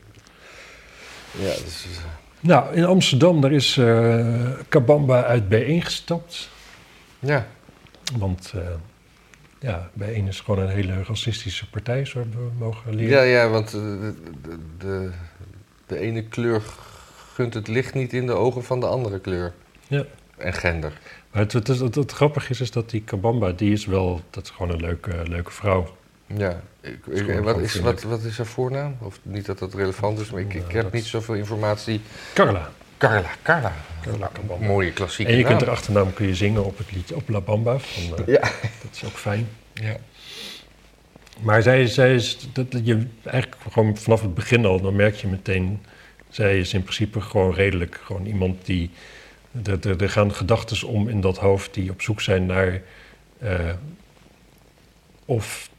S2: Ja, dus,
S1: Nou, in Amsterdam, daar is eh Kabamba uit B1 gestapt.
S2: ja.
S1: Want eh, ja, B1 is gewoon een hele racistische partij, zo hebben we mogen leren.
S2: ja, ja, want eh, de, de, de, de ene kleur gunt het licht niet in de ogen van de andere kleur.
S1: Ja.
S2: En gender.
S1: Maar het, het, is- het- het grappige is, is dat die Kabamba, die is wel, dat is gewoon een leuke, leuke vrouw.
S2: Ja, ik,
S1: is
S2: ik-
S1: gewoon
S2: wat, is,
S1: onvriendelijk.
S2: wat, wat is haar voornaam? Of niet dat dat relevant is, maar ik, ik
S1: Nou,
S2: heb
S1: dat-
S2: niet zoveel informatie.
S1: Carla.
S2: Carla, Carla.
S1: Carla Kabamba.
S2: Mooie klassieke
S1: En je
S2: naam.
S1: kunt de achternaam kun je zingen op het lied op La Bamba. Van, eh,
S2: Ja.
S1: Dat is ook fijn.
S2: ja.
S1: Maar zij, zij is, dat, dat je eigenlijk gewoon vanaf het begin al, dan merk je meteen, zij is in principe gewoon redelijk. Gewoon iemand die, er- er- er gaan gedachten om in dat hoofd die op zoek zijn naar eh, of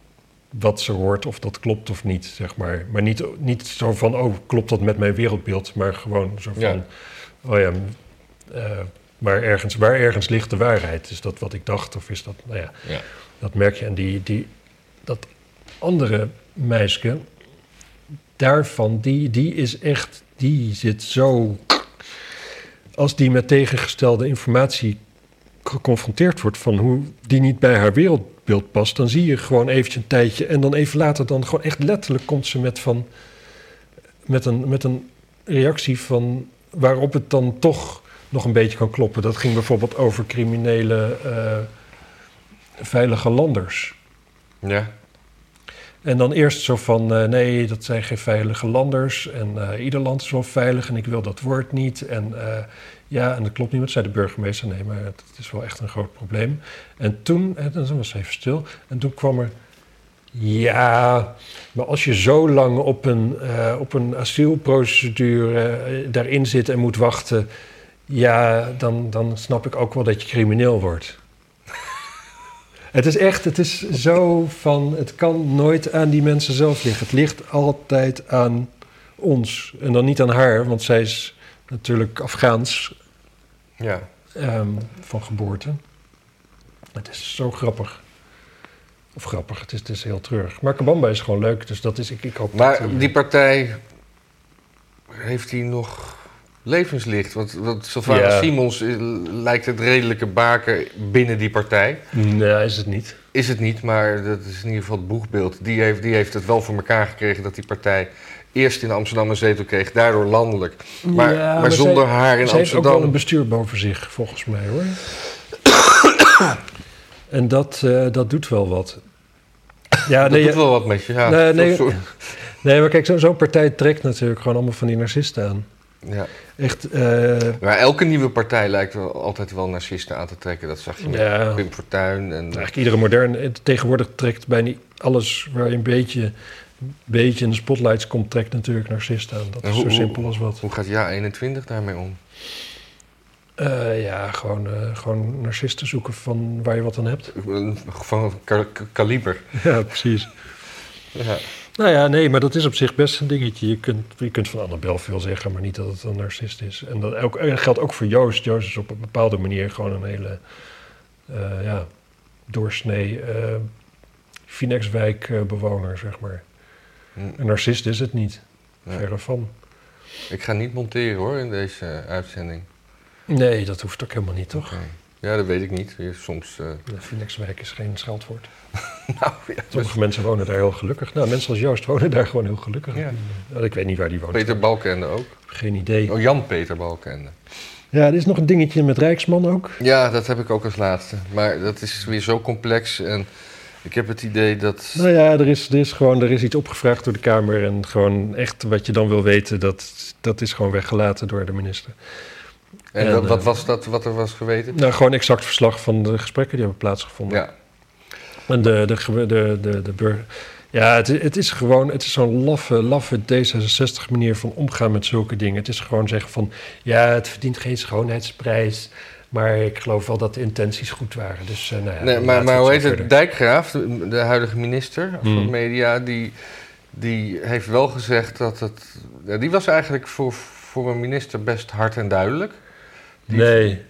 S1: wat ze hoort, of dat klopt of niet, zeg maar. Maar niet, niet zo van, oh, klopt dat met mijn wereldbeeld, maar gewoon zo van,
S2: Ja.
S1: oh ja, eh, Maar ergens, waar ergens ligt de waarheid? Is dat wat ik dacht? Of is dat, nou ja,
S2: Ja.
S1: dat merk je. En die, die, dat andere meisje, daarvan, die, die is echt, die zit zo... Als die met tegengestelde informatie geconfronteerd wordt van hoe die niet bij haar wereldbeeld past, dan zie je gewoon eventjes een tijdje en dan even later dan gewoon echt letterlijk komt ze met van met een, met een reactie van waarop het dan toch nog een beetje kan kloppen. Dat ging bijvoorbeeld over criminele eh, veilige landers.
S2: Ja.
S1: En dan eerst zo van, eh, nee, dat zijn geen veilige landers. En eh, ieder land is wel veilig en ik wil dat woord niet. En eh, ja, en dat klopt niet, want zei de burgemeester. Nee, maar het is wel echt een groot probleem. En toen, en dan was ze even stil. En toen kwam er, ja, maar als je zo lang op een, eh, op een asielprocedure eh, daarin zit en moet wachten... Ja, dan, dan snap ik ook wel dat je crimineel wordt. Het is echt, het is zo van, het kan nooit aan die mensen zelf liggen. Het ligt altijd aan ons. En dan niet aan haar, want zij is natuurlijk Afghaans
S2: Ja.
S1: ehm, van geboorte. Het is zo grappig. Of grappig, het is, het is heel treurig. Maar Kabamba is gewoon leuk, dus dat is, ik, ik hoop dat...
S2: Maar die partij, heeft hij nog levenslicht? Want, want Sylvana
S1: Ja.
S2: Simons eh, lijkt het redelijke baken binnen die partij.
S1: Nee, is het niet.
S2: Is het niet, maar dat is in ieder geval het boegbeeld. Die heeft, die heeft het wel voor elkaar gekregen dat die partij eerst in Amsterdam een zetel kreeg, daardoor landelijk. Maar,
S1: Ja,
S2: maar,
S1: maar
S2: zonder
S1: zij-
S2: haar in
S1: Ze heeft ook wel
S2: Amsterdam.
S1: een bestuur boven zich, volgens mij hoor. en dat, eh, dat doet wel wat. Ja,
S2: Dat
S1: nee,
S2: doet
S1: ja,
S2: wel wat met je. Ja,
S1: Nee,
S2: Dat
S1: nee.
S2: soort-
S1: nee, maar kijk, zo- zo'n partij trekt natuurlijk gewoon allemaal van die narcisten aan.
S2: ja.
S1: Echt, eh,
S2: Maar elke nieuwe partij lijkt wel, altijd wel narcisten aan te trekken. Dat zag je met
S1: ja,
S2: Pim Fortuyn. En,
S1: eigenlijk iedere moderne, tegenwoordig trekt bijna alles waar je een beetje, een beetje in de spotlights komt, trekt natuurlijk narcisten aan. Dat
S2: En
S1: is
S2: hoe-
S1: zo
S2: hoe-
S1: simpel als wat.
S2: Hoe gaat Ja 21 daarmee om?
S1: Eh, ja, gewoon, eh, gewoon narcisten zoeken van waar je wat aan hebt.
S2: Van ka- ka- kaliber.
S1: Ja, precies.
S2: Ja.
S1: Nou ja, nee, maar dat is op zich best een dingetje. Je kunt, je kunt van Annabel veel zeggen, maar niet dat het een narcist is. En dat ook, en geldt ook voor Joost. Joost is op een bepaalde manier gewoon een hele eh, ja, doorsnee eh Finexwijk eh, bewoner, zeg maar.
S2: Hm.
S1: Een narcist is het niet,
S2: Nee.
S1: verre van.
S2: Ik ga niet monteren hoor in deze eh, uitzending.
S1: Nee, dat hoeft ook helemaal niet, toch?
S2: Oké. Ja, dat weet ik niet. Je- Soms. eh,
S1: De Finexwijk is geen scheldwoord.
S2: nou ja, dus
S1: Sommige mensen wonen daar heel gelukkig. Nou, mensen als Joost wonen daar gewoon heel gelukkig.
S2: Ja.
S1: Nou, ik weet niet waar die woont.
S2: Peter Balkende ook.
S1: Geen idee.
S2: Oh, Jan-Peter Balkende.
S1: Ja, er is nog een dingetje met Rijksman ook.
S2: Ja, dat heb ik ook als laatste. Maar dat is weer zo complex. En ik heb het idee dat.
S1: Nou ja, er is, er is gewoon er is iets opgevraagd door de Kamer. En gewoon echt wat je dan wil weten, dat, dat is gewoon weggelaten door de minister.
S2: En
S1: en,
S2: dat- wat
S1: eh,
S2: was dat wat er was geweten?
S1: Nou, gewoon exact verslag van de gesprekken die hebben plaatsgevonden.
S2: Ja.
S1: En de, de, ge- de, de, de burger. Ja, het, het is gewoon, het is zo'n laffe, laffe D66 manier van omgaan met zulke dingen. Het is gewoon zeggen van, ja, het verdient geen schoonheidsprijs. Maar ik geloof wel dat de intenties goed waren. Dus, eh, nou ja,
S2: Nee,
S1: dan
S2: maar,
S1: laten we
S2: maar hoe
S1: zo
S2: heet het?
S1: verder.
S2: Dijkgraaf, de, de huidige minister van
S1: Hmm.
S2: Media, die, die heeft wel gezegd dat het. ja, die was eigenlijk voor, voor een minister best hard en duidelijk. Die-
S1: Nee,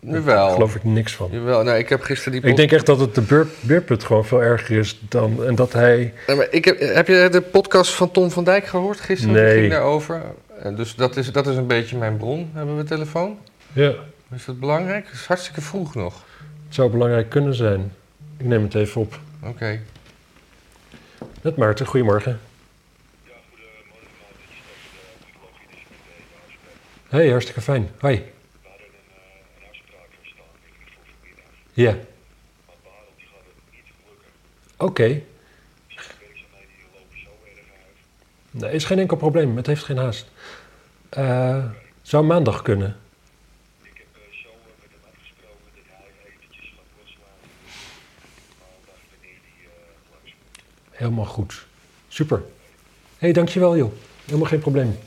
S2: Jawel.
S1: daar geloof ik niks van.
S2: Jawel. Nou, ik heb gisteren die.
S1: Ik denk echt dat het de beer- beerput gewoon veel erger is dan. En dat hij.
S2: Nee, maar ik heb, heb je de podcast van Tom van Dijk gehoord gisteren? Die
S1: Nee.
S2: ging daarover. Eh, Dus dat is, dat is een beetje mijn bron. Hebben we telefoon?
S1: Ja,
S2: Is dat belangrijk? Het is hartstikke vroeg nog.
S1: het zou belangrijk kunnen zijn. Ik neem het even op.
S2: Oké.
S1: Met Maarten, goedemorgen. Hey, hartstikke fijn. Hoi. Ja. Oké. Nee, is geen enkel probleem. Het heeft geen haast. Eh, zou maandag kunnen? Helemaal goed. Super. Hé, hey, dankjewel joh. Helemaal geen probleem.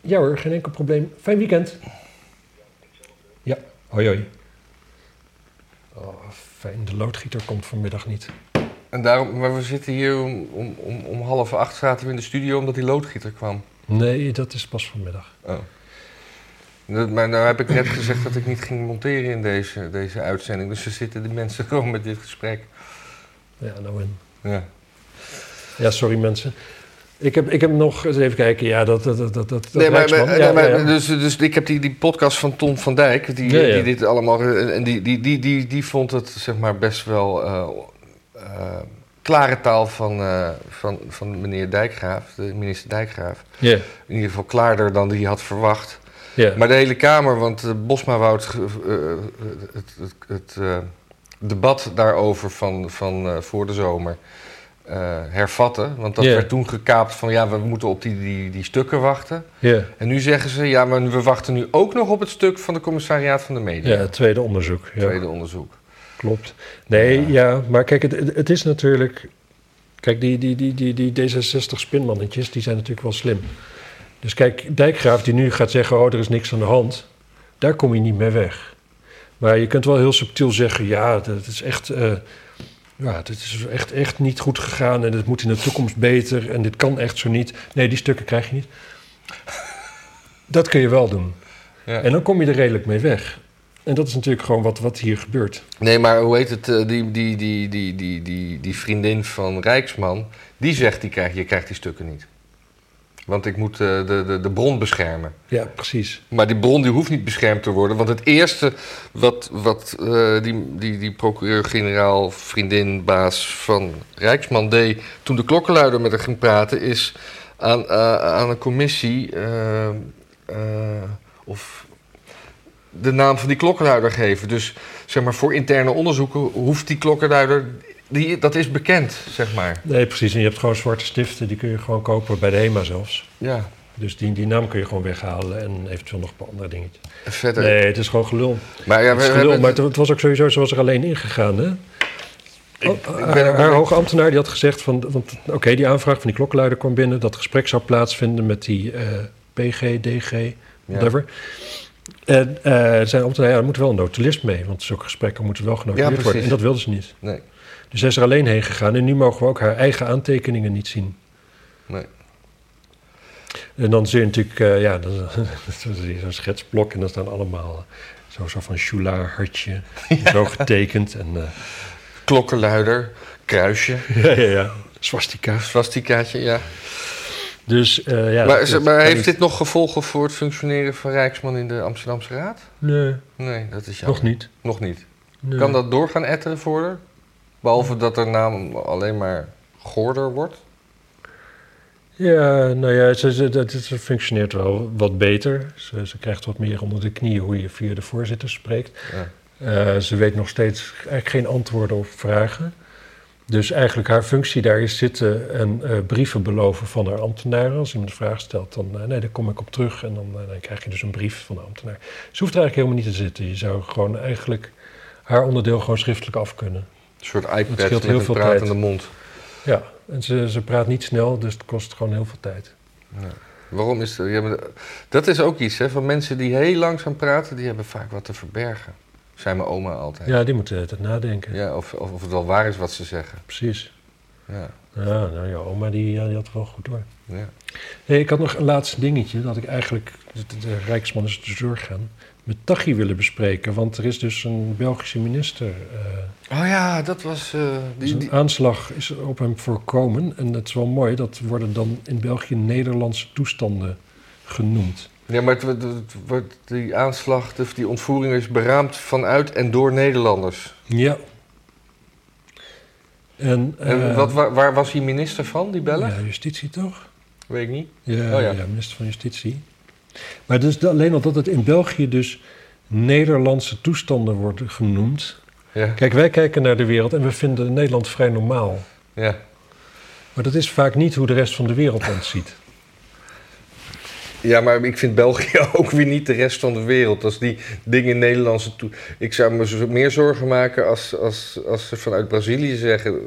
S1: Ja hoor, geen enkel probleem. Fijn weekend. Ja, hoi hoi. Oh, fijn, de loodgieter komt vanmiddag niet.
S2: En daarom, maar we zitten hier om, om, om, om half acht zaten we in de studio omdat die loodgieter kwam.
S1: Nee, dat is pas vanmiddag.
S2: Oh. Dat- Maar nou heb ik net gezegd dat ik niet ging monteren in deze, deze uitzending. Dus er zitten de mensen gewoon met dit gesprek.
S1: Ja, nou en.
S2: Ja.
S1: Ja, sorry mensen. Ik heb, ik heb nog eens even kijken. Ja, dat, dat, dat, dat, dat
S2: Nee, maar,
S1: Rijksman.
S2: maar-
S1: Ja,
S2: nee, maar
S1: ja, ja.
S2: Dus, dus ik heb die, die podcast van Tom van Dijk, die,
S1: Ja, ja.
S2: die dit allemaal. En die, die, die, die, die vond het zeg maar best wel eh, eh, klare taal van, eh, van, van meneer Dijkgraaf, de minister Dijkgraaf.
S1: Ja,
S2: In ieder geval klaarder dan die had verwacht.
S1: ja.
S2: Maar de hele Kamer, want eh, Bosma wou het, ge- eh, het, het, het, eh, debat daarover van, van eh, voor de zomer eh, hervatten. Want dat
S1: Ja.
S2: werd toen gekaapt van ja, we moeten op die, die, die stukken wachten.
S1: ja.
S2: En nu zeggen ze ja, maar we wachten nu ook nog op het stuk van de commissariaat van de media.
S1: ja, het tweede onderzoek. Ja.
S2: Tweede onderzoek.
S1: Klopt. Nee, ja, maar kijk, het, het het is natuurlijk. Kijk, die, die, die, die, die D66-spinmannetjes, die zijn natuurlijk wel slim. Dus kijk, Dijkgraaf die nu gaat zeggen: oh, er is niks aan de hand, daar kom je niet mee weg. Maar je kunt wel heel subtiel zeggen: ja, dat is echt. eh, ja, dit is echt, echt niet goed gegaan en dit moet in de toekomst beter en dit kan echt zo niet. Nee, die stukken krijg je niet. Dat kun je wel doen.
S2: Ja.
S1: En dan kom je er redelijk mee weg. En dat is natuurlijk gewoon wat, wat hier gebeurt.
S2: Nee, maar hoe heet het? eh, Die, die, die, die, die, die, die vriendin van Rijksman, die zegt: die krijg, je krijgt die stukken niet. Want ik moet eh, de, de, de bron beschermen.
S1: Ja, precies.
S2: Maar die bron die hoeft niet beschermd te worden. Want het eerste wat, wat eh, die, die, die procureur-generaal, vriendin, baas van Rijksman deed... toen de klokkenluider met haar ging praten... is aan, eh, aan een commissie eh, eh, of de naam van die klokkenluider geven. Dus zeg maar, voor interne onderzoeken hoeft die klokkenluider... Die, dat is bekend, zeg maar.
S1: Nee, precies. En je hebt gewoon zwarte stiften, die kun je gewoon kopen bij de HEMA zelfs.
S2: Ja,
S1: Dus die, die naam kun je gewoon weghalen en eventueel nog een paar andere dingetjes.
S2: en verder.
S1: Nee, het is gewoon gelul.
S2: Maar ja,
S1: Het
S2: we,
S1: is
S2: we
S1: gelul,
S2: hebben-
S1: maar het, het was ook sowieso, ze was er alleen ingegaan, hè? Oh,
S2: ben er-
S1: haar, haar hoge ambtenaar die had gezegd van, want oké, die aanvraag van die klokkenluider kwam binnen, dat gesprek zou plaatsvinden met die eh, PG, DG, whatever. En eh zijn ambtenaar, ja, er moet wel een notulist mee, want zulke gesprekken moeten wel
S2: Ja,
S1: genotuleerd
S2: precies.
S1: worden. En dat wilde ze niet.
S2: nee,
S1: Dus zij is er alleen heen gegaan en nu mogen we ook haar eigen aantekeningen niet zien.
S2: nee.
S1: En dan zie je natuurlijk, eh, ja, dan, dan zie je zo'n schetsblok en dan staan allemaal eh, zo, zo van Schula, hartje, zo getekend. En, eh,
S2: Klokkenluider, kruisje,
S1: ja, ja, ja, swastika.
S2: swastikaatje, ja.
S1: Dus eh, ja.
S2: maar
S1: dat-
S2: is-
S1: dat
S2: maar
S1: kan
S2: heeft
S1: niet.
S2: dit nog gevolgen voor het functioneren van Rijksman in de Amsterdamse Raad?
S1: Nee,
S2: Nee, dat is jammer.
S1: nog niet.
S2: Nog niet.
S1: Nee.
S2: Kan dat doorgaan etteren voor haar? Behalve dat haar naam alleen maar goorder wordt?
S1: Ja, nou ja, ze, ze- dat, ze functioneert wel wat beter. Ze, ze krijgt wat meer onder de knieën hoe je via de voorzitter spreekt.
S2: Ja.
S1: Eh, ze weet nog steeds eigenlijk geen antwoorden op vragen. Dus eigenlijk haar functie daar is zitten en eh, brieven beloven van haar ambtenaren. Als iemand een vraag stelt, dan eh, nee, daar kom ik op terug. En dan, eh, dan krijg je dus een brief van de ambtenaar. Ze hoeft er eigenlijk helemaal niet te zitten. Je zou gewoon eigenlijk haar onderdeel gewoon schriftelijk af kunnen.
S2: Een soort iPad
S1: scheelt
S2: met
S1: heel
S2: een
S1: veel
S2: pratende
S1: tijd.
S2: mond.
S1: Ja, en ze, ze praat niet snel, dus het kost gewoon heel veel tijd.
S2: Waarom is dat? ja, maar dat is ook iets, hè? Van mensen die heel langzaam praten, die hebben vaak wat te verbergen. Zijn mijn oma altijd.
S1: Ja, die moet de hele tijd nadenken.
S2: Ja, of, of, of het wel waar is wat ze zeggen.
S1: Precies.
S2: Ja,
S1: Ja, nou ja, oma die, ja, die had het wel goed door.
S2: ja.
S1: Hey, ik had nog een laatste dingetje dat ik eigenlijk de, de- de Rijksman is te zorg gaan met Tachi willen bespreken, want er is dus een Belgische minister. eh,
S2: Oh ja, dat was... eh,
S1: dus
S2: die, die,
S1: Een aanslag is op hem voorkomen en het is wel mooi dat worden dan in België Nederlandse toestanden genoemd.
S2: Ja, maar het, wordt- het wordt- die aanslag, of die ontvoering is beraamd vanuit en door Nederlanders.
S1: Ja. En,
S2: en
S1: eh,
S2: wat, waar, waar was hij minister van, die Belg?
S1: Ja, justitie toch?
S2: Weet ik niet.
S1: Ja,
S2: Oh ja.
S1: ja. minister van Justitie. Maar dus de- alleen al dat het in België dus Nederlandse toestanden worden genoemd.
S2: Ja,
S1: Kijk, wij kijken naar de wereld en we vinden Nederland vrij normaal.
S2: ja.
S1: Maar dat is vaak niet hoe de rest van de wereld ons ziet.
S2: ja maar ik vind België ook weer niet de rest van de wereld. Als die dingen Nederlandse toe... Ik zou me zo- meer zorgen maken als, als, als ze vanuit Brazilië zeggen...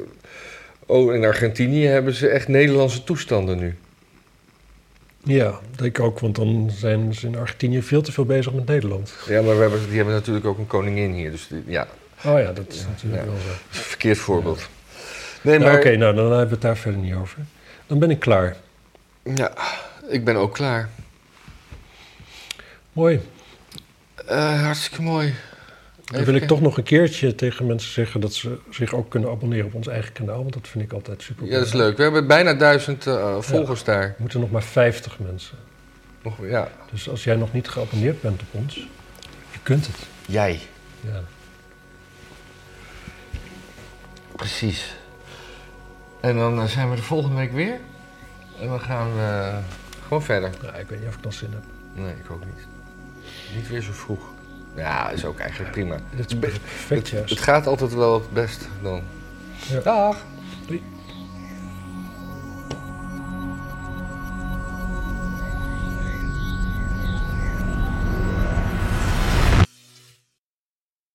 S2: Oh, in Argentinië hebben ze echt Nederlandse toestanden nu.
S1: Ja, dat ik ook, want dan zijn ze in Argentinië veel te veel bezig met Nederland.
S2: Ja, maar we hebben, die hebben natuurlijk ook een koningin hier. Dus die- ja,
S1: Oh ja, dat is natuurlijk
S2: ja.
S1: wel zo.
S2: verkeerd voorbeeld. Nee,
S1: Nou, Oké, nou dan hebben we het daar verder niet over. Dan ben ik klaar.
S2: Ja, ik ben ook klaar.
S1: Mooi.
S2: Eh, hartstikke mooi.
S1: Dan wil ik toch nog een keertje tegen mensen zeggen dat ze zich ook kunnen abonneren op ons eigen kanaal. Want dat vind ik altijd super.
S2: Ja, dat is leuk. We hebben bijna duizend eh, volgers daar.
S1: Er moeten nog maar 50 mensen.
S2: Nog, ja.
S1: Dus als jij nog niet geabonneerd bent op ons, je kunt het.
S2: Jij.
S1: Ja.
S2: Precies. En dan eh, zijn we de volgende week weer. En dan gaan we eh, gewoon verder.
S1: Nou, ik weet niet of ik dan zin heb.
S2: Nee, ik ook niet. Niet weer zo vroeg. Ja, is ook eigenlijk prima.
S1: Dit is perfect
S2: Het
S1: juist.
S2: gaat altijd wel het best dan.
S1: Ja.
S2: Dag!